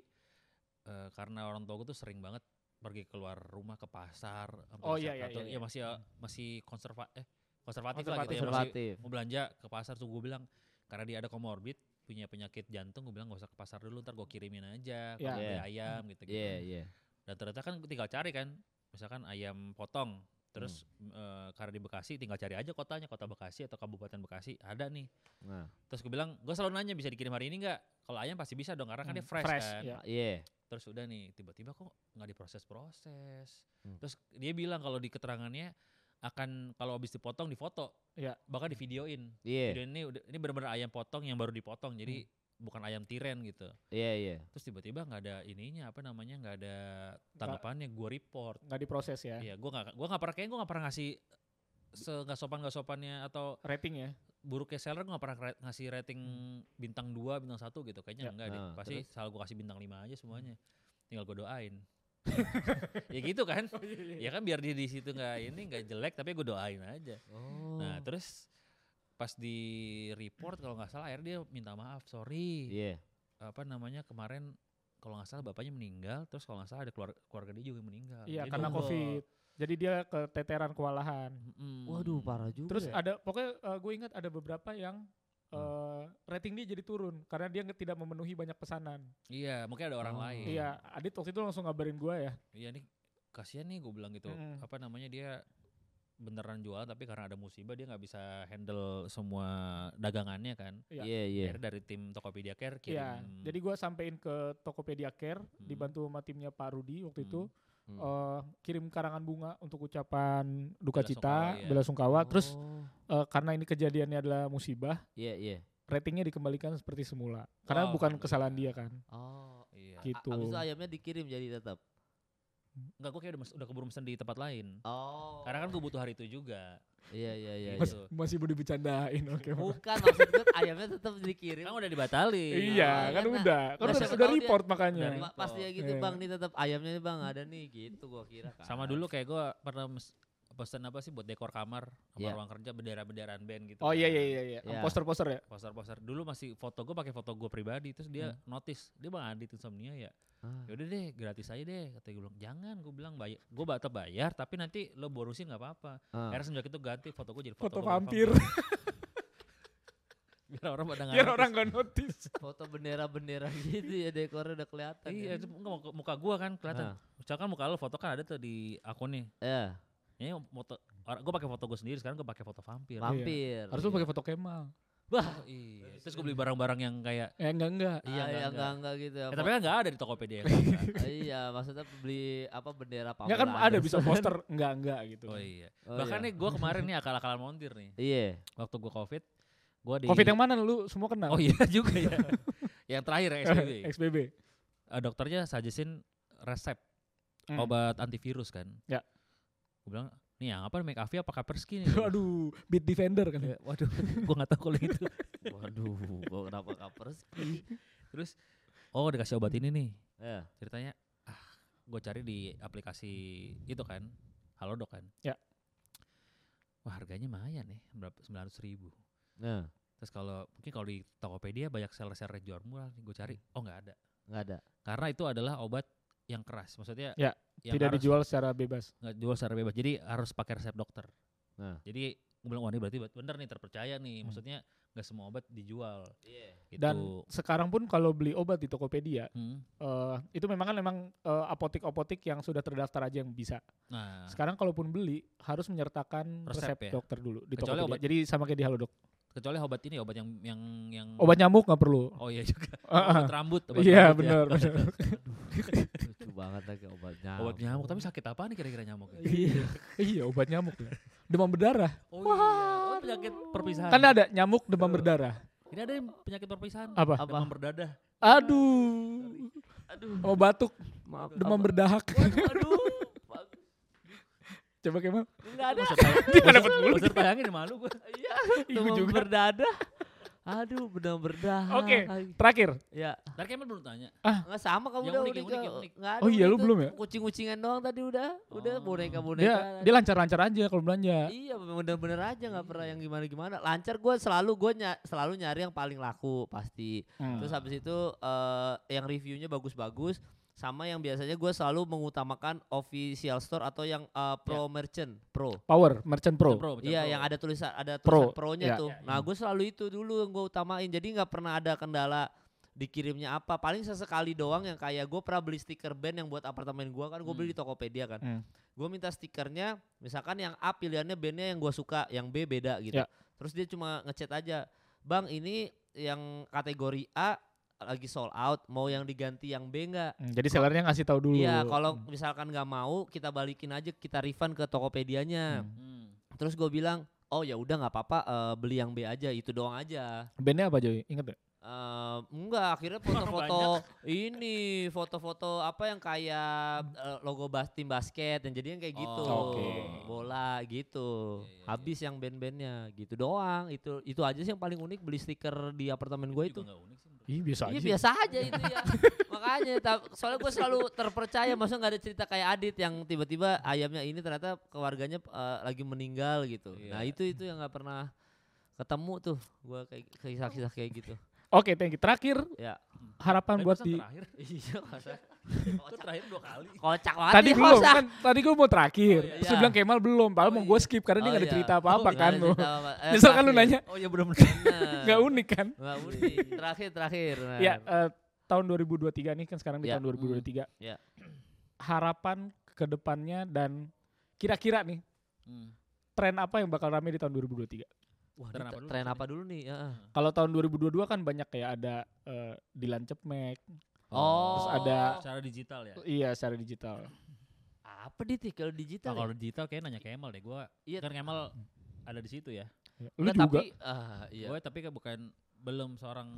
Speaker 1: eh, karena orang tua gue tuh sering banget pergi keluar rumah ke pasar. sampai
Speaker 2: Oh,
Speaker 1: ke
Speaker 2: iya,
Speaker 1: Saat
Speaker 2: iya,
Speaker 1: Natal.
Speaker 2: iya,
Speaker 1: Ya
Speaker 2: iya.
Speaker 1: masih eh, masih konserva eh konservatif, lah gitu
Speaker 2: Konservatif,
Speaker 1: ya. Masih
Speaker 3: Konservatif.
Speaker 1: mau belanja ke pasar tuh gue bilang karena dia ada komorbid punya penyakit jantung gue bilang gak usah ke pasar dulu ntar gue kirimin aja
Speaker 2: Iya.
Speaker 1: yeah.
Speaker 3: Iya.
Speaker 1: ayam gitu gitu
Speaker 3: Iya, iya.
Speaker 1: dan ternyata kan tinggal cari kan misalkan ayam potong terus m- eh, karena di Bekasi tinggal cari aja kotanya kota Bekasi atau kabupaten Bekasi ada nih
Speaker 3: Nah,
Speaker 1: terus gue bilang gue selalu nanya bisa dikirim hari ini nggak kalau ayam pasti bisa dong karena kan dia
Speaker 2: Hmm,
Speaker 1: fresh, kan
Speaker 2: iya.
Speaker 3: iya.
Speaker 1: terus udah nih tiba-tiba kok nggak diproses proses
Speaker 3: Hmm.
Speaker 1: terus dia bilang kalau di keterangannya akan kalau habis dipotong difoto
Speaker 2: Iya.
Speaker 1: bahkan divideoin
Speaker 3: Iya.
Speaker 1: Video ini udah- ini benar-benar ayam potong yang baru dipotong jadi bukan ayam tiren gitu.
Speaker 3: Iya, iya.
Speaker 1: Terus tiba-tiba nggak ada ininya apa namanya nggak ada tanggapannya gue report.
Speaker 2: Nggak diproses ya.
Speaker 1: Iya gue nggak gue nggak pernah kayaknya gue nggak pernah ngasih se nggak sopan nggak sopannya atau
Speaker 2: Rating ya.
Speaker 1: Nah, buruknya seller gue nggak pernah kera- ngasih rating bintang 2, bintang satu gitu kayaknya
Speaker 2: Ya.
Speaker 1: enggak deh
Speaker 3: Ah,
Speaker 1: pasti
Speaker 3: terus?
Speaker 1: selalu gue kasih bintang 5 aja semuanya tinggal gue doain ya gitu kan ya kan biar dia di situ nggak ini nggak jelek tapi gue doain aja
Speaker 3: Oh.
Speaker 1: Nah terus pas di report kalau nggak salah akhirnya dia minta maaf sorry
Speaker 3: Iya.
Speaker 1: apa namanya kemarin kalau nggak salah bapaknya meninggal terus kalau nggak salah ada keluarga, keluarga dia juga yang meninggal.
Speaker 2: Iya,
Speaker 1: Jadi
Speaker 2: karena
Speaker 1: dia-
Speaker 2: Covid. Jadi dia keteteran kewalahan.
Speaker 1: Mm-mm.
Speaker 3: Waduh, parah juga.
Speaker 2: Terus
Speaker 3: ya.
Speaker 2: ada pokoknya gue ingat ada beberapa yang
Speaker 1: Hmm.
Speaker 2: eh, rating dia jadi turun karena dia nge- tidak memenuhi banyak pesanan.
Speaker 1: Iya mungkin ada orang
Speaker 3: Oh.
Speaker 1: lain.
Speaker 2: Iya, Adit waktu itu langsung ngabarin gue ya.
Speaker 1: Iya nih kasihan nih gue bilang gitu
Speaker 2: Mm-mm.
Speaker 1: apa namanya dia beneran jualan tapi karena ada musibah dia nggak bisa handle semua dagangannya kan.
Speaker 2: Iya.
Speaker 3: Iya, iya.
Speaker 1: Akhirnya dari tim Tokopedia Care kirim. Hmm.
Speaker 2: Iya, jadi gue sampein ke Tokopedia Care dibantu sama timnya Pak Rudi waktu itu
Speaker 3: Hmm.
Speaker 2: eh, kirim karangan bunga untuk ucapan duka
Speaker 1: Bela
Speaker 2: cita,
Speaker 1: sungkawa, ya.
Speaker 2: bela sungkawa. Terus
Speaker 3: Oh.
Speaker 2: eh, karena ini kejadiannya adalah musibah,
Speaker 3: Iya, iya.
Speaker 2: ratingnya dikembalikan seperti semula. Oh, Karena
Speaker 1: Wow,
Speaker 2: bukan
Speaker 1: alhamdulillah.
Speaker 2: kesalahan dia kan.
Speaker 3: Oh.
Speaker 1: Iya.
Speaker 3: A-
Speaker 2: Gitu.
Speaker 3: Abis itu ayamnya dikirim jadi tetap.
Speaker 1: Enggak gue kayak udah, mes- udah keburu mesen di tempat lain.
Speaker 3: Oh.
Speaker 1: Karena kan gue butuh hari itu juga.
Speaker 3: Iya, iya, iya.
Speaker 1: Mas-
Speaker 3: iya.
Speaker 1: Gitu.
Speaker 2: Masih boleh bercandain, oke. Bang.
Speaker 3: Bukan maksud gue ayamnya tetap dikirim.
Speaker 1: Kan udah dibatalin.
Speaker 2: Iya,
Speaker 3: Iya,
Speaker 2: kan
Speaker 3: enak.
Speaker 2: udah. Kan
Speaker 3: Nah,
Speaker 2: udah,
Speaker 3: siapa
Speaker 2: udah
Speaker 3: tahu dia-
Speaker 2: report makanya.
Speaker 1: Dari-
Speaker 3: Ma- Pasti ya gitu,
Speaker 2: Iya.
Speaker 3: Bang. Nih tetap ayamnya nih, Bang. Ada nih gitu gua kira kan.
Speaker 1: Sama dulu kayak gue pernah mes- pesan apa sih buat dekor kamar sama
Speaker 3: Iya.
Speaker 1: ruang kerja bendera-benderaan band gitu.
Speaker 2: Oh iya
Speaker 1: kan.
Speaker 2: iya iya iya.
Speaker 3: Iya.
Speaker 2: Poster-poster ya.
Speaker 1: Poster-poster dulu masih foto gue pakai foto gue pribadi terus
Speaker 2: Mm.
Speaker 1: dia notice dia bang Adit insomnia ya.
Speaker 3: Ah.
Speaker 1: Yaudah deh gratis aja deh kata gue bilang jangan gue bilang bayar gue tetap bayar tapi nanti lo bonusin nggak apa-apa.
Speaker 3: Ah.
Speaker 1: Akhirnya semenjak itu ganti foto gue jadi foto,
Speaker 2: Foto
Speaker 1: gua berapa.
Speaker 2: vampir.
Speaker 1: biar orang pada nggak
Speaker 2: biar
Speaker 1: notice.
Speaker 2: orang gak notice
Speaker 3: foto bendera-bendera gitu ya dekornya udah kelihatan.
Speaker 1: Iya,
Speaker 3: ya.
Speaker 1: itu muka, muka- muka gua kan kelihatan.
Speaker 3: Ah.
Speaker 1: Misalkan muka lo foto kan ada tuh di akunnya.
Speaker 3: Ya,
Speaker 1: Ini foto orang gua pakai foto gua sendiri, sekarang gua pakai foto vampir.
Speaker 3: mampir.
Speaker 2: harus lu pakai foto Kemal
Speaker 1: Wah, iya. Terus gua beli barang-barang yang kayak
Speaker 2: eh enggak enggak
Speaker 3: Iya,
Speaker 1: enggak,
Speaker 3: enggak,
Speaker 1: enggak.
Speaker 3: enggak, gitu. ya.
Speaker 1: Eh, tapi kan nggak ada di Tokopedia. kan?
Speaker 3: Ah, iya, maksudnya beli apa bendera Pamela.
Speaker 2: enggak kan ada
Speaker 3: Anderson.
Speaker 2: bisa poster enggak enggak gitu
Speaker 1: oh iya.
Speaker 3: Oh,
Speaker 1: Bahkan
Speaker 3: iya.
Speaker 1: nih gua kemarin nih akal-akalan montir nih.
Speaker 3: Iya.
Speaker 1: Waktu gua Covid, gua di
Speaker 2: covid yang mana lu semua kena
Speaker 1: Oh iya juga ya. yang terakhir ya SBB.
Speaker 2: XBB
Speaker 1: Eh, dokternya suggestin resep
Speaker 2: Hmm.
Speaker 1: obat antivirus kan.
Speaker 2: Ya.
Speaker 1: Gua bilang, "Nih yang apa nih, McAfee apa Kaspersky nih?"
Speaker 2: aduh beat defender kan
Speaker 1: Eh, Waduh, gua nggak tahu kalau gitu." itu.
Speaker 3: Waduh, gua kenapa kapers?
Speaker 1: Terus oh dikasih obat ini nih.
Speaker 3: Ya.
Speaker 1: Ceritanya ah gue cari di aplikasi itu kan. Halodoc kan.
Speaker 2: Ya.
Speaker 1: Wah, harganya lumayan nih, berapa 900 ribu.
Speaker 3: Nah,
Speaker 1: Terus kalau mungkin kalau di Tokopedia banyak seller-seller jual murah nih gue cari.
Speaker 2: Hmm.
Speaker 1: Oh, nggak ada.
Speaker 3: enggak ada.
Speaker 1: Karena itu adalah obat yang keras. Maksudnya
Speaker 2: Ya,
Speaker 1: yang
Speaker 2: tidak
Speaker 1: harus-
Speaker 2: dijual secara bebas
Speaker 1: nggak dijual secara bebas. Jadi harus pakai resep dokter.
Speaker 3: Nah.
Speaker 1: Jadi gue bilang wah ini berarti bener nih terpercaya nih. Maksudnya nggak semua obat dijual.
Speaker 3: Iya.
Speaker 1: Gitu.
Speaker 2: dan sekarang pun kalau beli obat di Tokopedia
Speaker 1: Hmm.
Speaker 2: eh, itu memang kan memang eh, apotik-apotik yang sudah terdaftar aja yang bisa
Speaker 1: nah
Speaker 2: Sekarang kalaupun beli harus menyertakan resep,
Speaker 1: Resep ya?
Speaker 2: dokter dulu di
Speaker 1: Kecuali
Speaker 2: Tokopedia.
Speaker 1: obat-
Speaker 2: Jadi sama kayak di Halodoc.
Speaker 1: kecuali obat ini obat yang yang yang
Speaker 2: Obat nyamuk nggak perlu.
Speaker 1: Oh iya juga.
Speaker 2: Ah, ah.
Speaker 1: Obat rambut. obat
Speaker 2: Iya
Speaker 1: rambut ya.
Speaker 2: benar benar.
Speaker 3: Lucu banget lagi obat nyamuk.
Speaker 1: Obat nyamuk. Tapi sakit apa nih kira-kira nyamuknya?
Speaker 3: Iya.
Speaker 2: iya obat nyamuk. ya. Demam berdarah.
Speaker 1: Oh iya. Oh, penyakit perpisahan.
Speaker 2: Kan ada Ah, nyamuk demam berdarah.
Speaker 1: Ini ada yang penyakit perpisahan.
Speaker 2: Apa?
Speaker 1: Demam berdadah.
Speaker 2: Aduh.
Speaker 3: Aduh,
Speaker 2: Mau batuk
Speaker 3: maaf.
Speaker 2: demam
Speaker 3: apa-
Speaker 2: berdahak.
Speaker 3: Waduh, aduh. Bagus.
Speaker 2: Coba kayak
Speaker 3: Enggak ada.
Speaker 1: Dia
Speaker 2: kan
Speaker 1: dapat mulu. Besar tayangin malu gue.
Speaker 3: Iya,
Speaker 2: Ibu
Speaker 3: demam
Speaker 2: Iya juga.
Speaker 3: berdadah. Aduh, demam berdarah.
Speaker 2: Oke.
Speaker 3: lagi.
Speaker 2: Terakhir.
Speaker 3: Ya,
Speaker 1: Ntar Kemal belum tanya.
Speaker 3: enggak sama
Speaker 1: Yang
Speaker 3: kamu udah
Speaker 1: unik, yang
Speaker 3: udah
Speaker 1: unik,
Speaker 3: ke-
Speaker 1: yang unik.
Speaker 3: nggak ada
Speaker 2: Oh iya, lu
Speaker 3: udah.
Speaker 2: belum ya?
Speaker 3: Kucing-kucingan doang tadi udah. Udah
Speaker 1: Oh.
Speaker 3: boneka-boneka.
Speaker 2: Dia dia lancar-lancar aja kalau belanja.
Speaker 3: Iya bener-bener aja nggak pernah yang gimana-gimana. Lancar gue selalu gue selalu nyari yang paling laku pasti.
Speaker 2: Hmm.
Speaker 3: Terus habis itu eh, yang reviewnya bagus-bagus sama yang biasanya gue selalu mengutamakan official store atau yang eh, pro merchant pro.
Speaker 2: Power Merchant Pro.
Speaker 1: Pro, baca
Speaker 3: Iya
Speaker 1: pro.
Speaker 3: yang ada tulisan ada
Speaker 2: Pro,
Speaker 3: tulisan pro-nya
Speaker 2: iya.
Speaker 3: tuh. Nah gue selalu itu dulu yang gue utamain. Jadi nggak pernah ada kendala dikirimnya apa. Paling sesekali doang yang kayak gue pernah beli stiker band yang buat apartemen gue kan gue beli di Tokopedia kan.
Speaker 2: Hmm.
Speaker 3: Gue minta stikernya misalkan yang A pilihannya bandnya yang gue suka, yang B beda gitu.
Speaker 2: Ya.
Speaker 3: Terus dia cuma ngechat aja, bang ini yang kategori A lagi sold out, mau yang diganti yang B nggak?
Speaker 2: Hmm, Jadi sellernya ngasih tahu dulu.
Speaker 3: Iya, kalau misalkan nggak mau, kita balikin aja, kita refund ke Tokopedianya.
Speaker 1: Hmm.
Speaker 2: Hmm.
Speaker 3: Terus gue bilang, oh ya udah nggak apa-apa, eh, beli yang B aja, itu doang aja.
Speaker 2: Bandnya apa Joy? Ingat ya?
Speaker 3: Eh enggak, akhirnya foto-foto ini, foto-foto apa yang kayak eh, logo bas tim basket, yang jadinya kayak gitu,
Speaker 1: Oh,
Speaker 2: oke.
Speaker 3: bola
Speaker 1: Iya,
Speaker 3: gitu.
Speaker 1: iya, iya.
Speaker 3: Habis yang band-bandnya, gitu doang. Itu itu aja sih yang paling unik beli stiker di apartemen
Speaker 2: Oh,
Speaker 3: gue itu.
Speaker 1: Juga nggak unik sih menurut
Speaker 2: Ih, biasa
Speaker 3: Iya
Speaker 2: Gitu aja.
Speaker 3: biasa aja itu ya. Makanya ta- soalnya gue selalu terpercaya maksudnya nggak ada cerita kayak Adit yang tiba-tiba ayamnya ini ternyata keluarganya eh, lagi meninggal gitu.
Speaker 1: Iya.
Speaker 3: Nah, itu itu yang nggak pernah ketemu tuh gue kayak kisah-kisah kayak gitu.
Speaker 2: Oke, thank you. Terakhir
Speaker 3: Ya.
Speaker 1: gua. Eh,
Speaker 2: harapan Kan buat
Speaker 1: masa
Speaker 2: di
Speaker 1: terakhir.
Speaker 3: Iya, masa
Speaker 1: Itu terakhir dua kali.
Speaker 3: kocak banget
Speaker 2: Tadi
Speaker 3: nih,
Speaker 2: belum
Speaker 3: Kosa.
Speaker 2: kan, tadi gue mau terakhir.
Speaker 3: Oh, iya.
Speaker 2: Terus dia bilang Kemal belum, padahal
Speaker 3: Oh,
Speaker 2: mau gue
Speaker 3: iya.
Speaker 2: skip karena dia
Speaker 3: Oh,
Speaker 2: gak ada
Speaker 3: iya.
Speaker 2: cerita
Speaker 3: Oh,
Speaker 2: apa-apa
Speaker 3: nggak
Speaker 2: kan.
Speaker 3: ada
Speaker 2: lo.
Speaker 3: cerita apa-apa. Eh,
Speaker 2: Nyesel kan lu
Speaker 3: terakhir.
Speaker 2: nanya,
Speaker 1: Oh iya benar
Speaker 3: Bener.
Speaker 2: gak unik kan.
Speaker 3: Nggak unik. Terakhir terakhir. Nah.
Speaker 2: Ya, eh, tahun 2023 nih kan sekarang di
Speaker 3: Ya.
Speaker 2: tahun 2023.
Speaker 3: Ya.
Speaker 2: Harapan ke depannya dan kira-kira nih
Speaker 3: Hmm.
Speaker 2: tren apa yang bakal rame di tahun 2023.
Speaker 3: Wah,
Speaker 1: Tren
Speaker 3: ini
Speaker 1: apa dulu,
Speaker 3: tren
Speaker 1: tren
Speaker 3: apa dulu nih? Heeh.
Speaker 2: Kalau tahun 2022 kan banyak kayak ada eh, Dilan Cepmek,
Speaker 3: Oh.
Speaker 2: Terus ada
Speaker 1: Secara digital ya.
Speaker 2: iya secara digital.
Speaker 3: apa dit kalau digital?
Speaker 1: Nah,
Speaker 3: ya?
Speaker 1: kalau digital kayak nanya Kemal deh. Gue
Speaker 3: Iya.
Speaker 1: kan Kemal
Speaker 2: Hmm.
Speaker 1: ada di situ ya.
Speaker 2: Lu
Speaker 3: Hmm. Nggak,
Speaker 2: juga
Speaker 3: Tapi, ah, iya.
Speaker 1: Gue tapi kan bukan belum seorang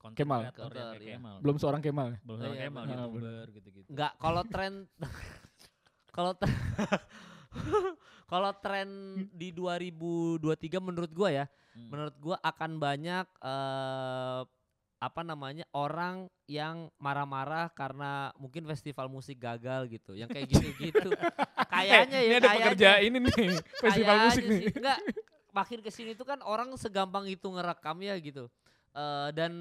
Speaker 1: content
Speaker 2: Kemal.
Speaker 1: creator yang
Speaker 3: Content,
Speaker 1: kayak
Speaker 3: iya.
Speaker 1: Kemal.
Speaker 2: belum seorang Kemal.
Speaker 1: Belum
Speaker 3: Oh,
Speaker 1: seorang
Speaker 3: iya,
Speaker 1: Kemal
Speaker 2: benar.
Speaker 1: youtuber gitu-gitu.
Speaker 3: Enggak, kalau tren kalau tren- kalau tren di 2023 menurut gua ya,
Speaker 1: Hmm.
Speaker 3: menurut gua akan banyak eh apa namanya orang yang marah-marah karena mungkin festival musik gagal gitu, yang kayak gitu-gitu.
Speaker 2: Eh,
Speaker 3: Kayaknya ya
Speaker 2: ini ada
Speaker 3: kayaknya.
Speaker 2: pekerja ini nih, festival
Speaker 3: Kayaknya
Speaker 2: musik nih.
Speaker 3: sih. Enggak, makin kesini tuh kan orang segampang itu ngerekam ya gitu. Eh, dan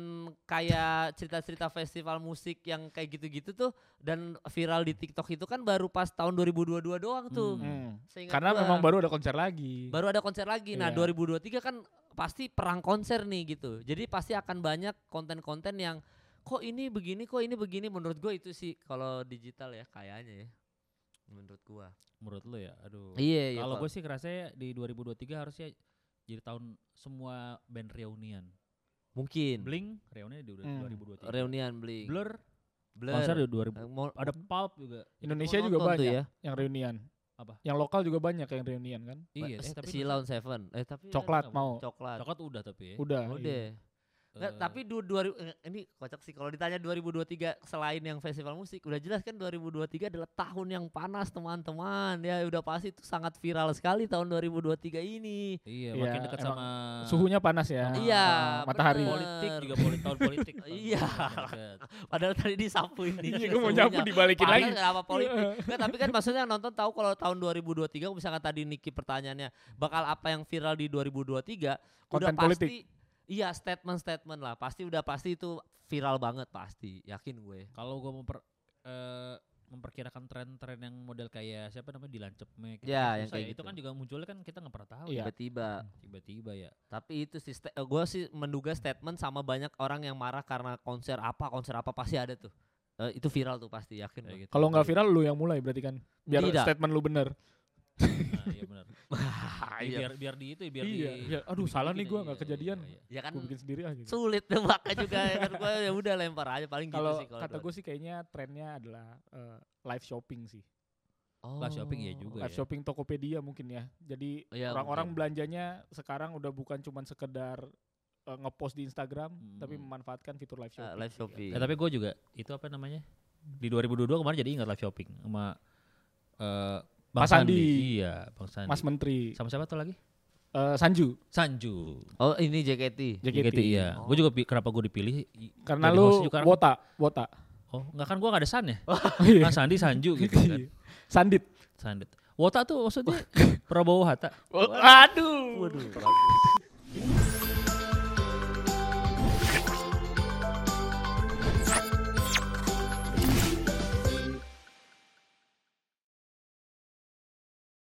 Speaker 3: kayak cerita-cerita festival musik yang kayak gitu-gitu tuh dan viral di TikTok itu kan baru pas tahun 2022 doang tuh.
Speaker 1: Hmm.
Speaker 3: Seingat
Speaker 2: Karena
Speaker 3: gua.
Speaker 2: memang baru ada konser lagi.
Speaker 3: baru ada konser lagi. Nah,
Speaker 2: Iya.
Speaker 3: 2023 kan pasti perang konser nih gitu. Jadi pasti akan banyak konten-konten yang kok ini begini, kok ini begini menurut gue itu sih kalau digital ya kayaknya ya. Menurut gua.
Speaker 1: Menurut lo ya, aduh.
Speaker 3: Iya,
Speaker 1: Kalau gue sih kerasa di 2023 harusnya jadi tahun semua band reunian.
Speaker 3: mungkin
Speaker 1: Blink reunian di
Speaker 2: Hmm.
Speaker 1: 2023.
Speaker 3: reunian beli.
Speaker 1: Blur konser di 2000.
Speaker 3: Eh, Mau,
Speaker 1: Ada Pulp juga.
Speaker 2: Indonesia
Speaker 3: mau
Speaker 2: juga
Speaker 3: nonton tuh
Speaker 2: banyak
Speaker 3: ya.
Speaker 2: yang reunian.
Speaker 1: Apa?
Speaker 2: Yang lokal juga banyak yang reunian kan.
Speaker 1: Iya,
Speaker 3: Ba-
Speaker 1: eh, tapi
Speaker 3: Silon Seven. Eh tapi kan
Speaker 2: Coklat
Speaker 3: nggak-
Speaker 2: mau.
Speaker 3: Coklat.
Speaker 1: Coklat udah tapi ya.
Speaker 2: Udah.
Speaker 3: Udah.
Speaker 2: iya.
Speaker 3: Nggak,
Speaker 1: Eh,
Speaker 3: tapi du, dua, ri- eh, ini kocak sih kalau ditanya 2023 selain yang festival musik udah jelas kan 2023 adalah tahun yang panas teman-teman ya udah pasti itu sangat viral sekali tahun 2023 ini
Speaker 1: Iya,
Speaker 2: Iya,
Speaker 1: makin dekat
Speaker 2: emang
Speaker 1: sama
Speaker 2: Suhunya panas ya.
Speaker 3: Iya,
Speaker 2: Ah, matahari.
Speaker 3: bener.
Speaker 1: politik juga politik tahun politik. tahun
Speaker 3: Iya.
Speaker 1: politik deket.
Speaker 3: padahal tadi disapuin nih
Speaker 2: Iya, gue mau nyapu dibalikin lagi.
Speaker 3: Panas kenapa politik Nggak, tapi kan maksudnya yang nonton tahu kalau tahun 2023 misalkan tadi Niki pertanyaannya bakal apa yang viral di 2023 udah
Speaker 2: Konten politik.
Speaker 3: pasti iya statement-statement lah pasti udah pasti itu viral banget pasti yakin gue
Speaker 1: Kalau gua memper eh, memperkirakan tren-tren yang model kayak siapa namanya Dilan Cepmek
Speaker 3: Ya,
Speaker 1: kan
Speaker 3: yang
Speaker 1: susah
Speaker 3: kayak
Speaker 1: itu
Speaker 3: gitu.
Speaker 1: kan juga munculnya kan kita nggak pernah tahu
Speaker 2: Iya.
Speaker 1: ya
Speaker 3: tiba-tiba
Speaker 1: tiba-tiba ya
Speaker 3: Tapi itu sih, gue sih menduga statement sama banyak orang yang marah karena konser apa, konser apa pasti ada tuh. Eh, itu viral tuh pasti yakin.
Speaker 1: kayak
Speaker 3: gua.
Speaker 1: gitu.
Speaker 2: Kalau nggak viral lu yang mulai berarti kan. Biar
Speaker 3: Tidak.
Speaker 2: statement lu bener.
Speaker 1: Nah, iya benar.
Speaker 3: Ah,
Speaker 1: Ya,
Speaker 3: iya.
Speaker 1: biar biar di itu ya, biar
Speaker 2: Iya,
Speaker 1: di
Speaker 2: iya.
Speaker 1: dibikin
Speaker 2: Aduh,
Speaker 3: Gitu
Speaker 2: salah nih
Speaker 1: aja.
Speaker 2: gua,
Speaker 1: Iya,
Speaker 2: nggak
Speaker 1: iya,
Speaker 2: kejadian.
Speaker 1: iya, iya.
Speaker 3: Ya kan
Speaker 2: Gue bikin sendiri aja. Gitu.
Speaker 3: sulit nembaknya juga. ya kan gue ya udah lempar aja paling
Speaker 2: Kalau
Speaker 3: gitu sih.
Speaker 2: kata gue sih kayaknya trennya adalah eh, live shopping sih.
Speaker 3: Oh.
Speaker 1: Live shopping ya juga
Speaker 2: Live
Speaker 1: ya. Oh,
Speaker 2: shopping iya Tokopedia mungkin ya. Jadi
Speaker 3: Iya,
Speaker 2: orang-orang
Speaker 3: mungkin.
Speaker 2: belanjanya sekarang udah bukan cuman sekedar eh, ngepost di Instagram, tapi
Speaker 1: Hmm.
Speaker 2: memanfaatkan fitur live
Speaker 3: Eh,
Speaker 2: shopping.
Speaker 3: live shopping.
Speaker 1: Ya, tapi gue juga itu apa namanya di 2022 kemarin jadi ingat live shopping sama eh Bang
Speaker 2: Mas Sandi.
Speaker 1: Iya, Bang Sandi.
Speaker 2: Mas Menteri
Speaker 1: sama siapa tuh lagi?
Speaker 2: eh, Sanju,
Speaker 1: Sanju.
Speaker 3: Oh ini JKT.
Speaker 2: JKT.
Speaker 1: JKT, iya.
Speaker 3: Oh.
Speaker 1: Gue juga pi- kenapa gue dipilih? i-
Speaker 2: Karena
Speaker 1: jadi
Speaker 2: lu
Speaker 1: hostnya juga karena-
Speaker 2: wota, wota.
Speaker 1: oh nggak kan gue nggak ada San ya?
Speaker 2: Iya.
Speaker 1: Kan Sandi Sanju gitu kan.
Speaker 2: Sandit.
Speaker 1: Sandit. Wota tuh maksudnya Prabowo Hatta.
Speaker 2: Aduh.
Speaker 3: Waduh.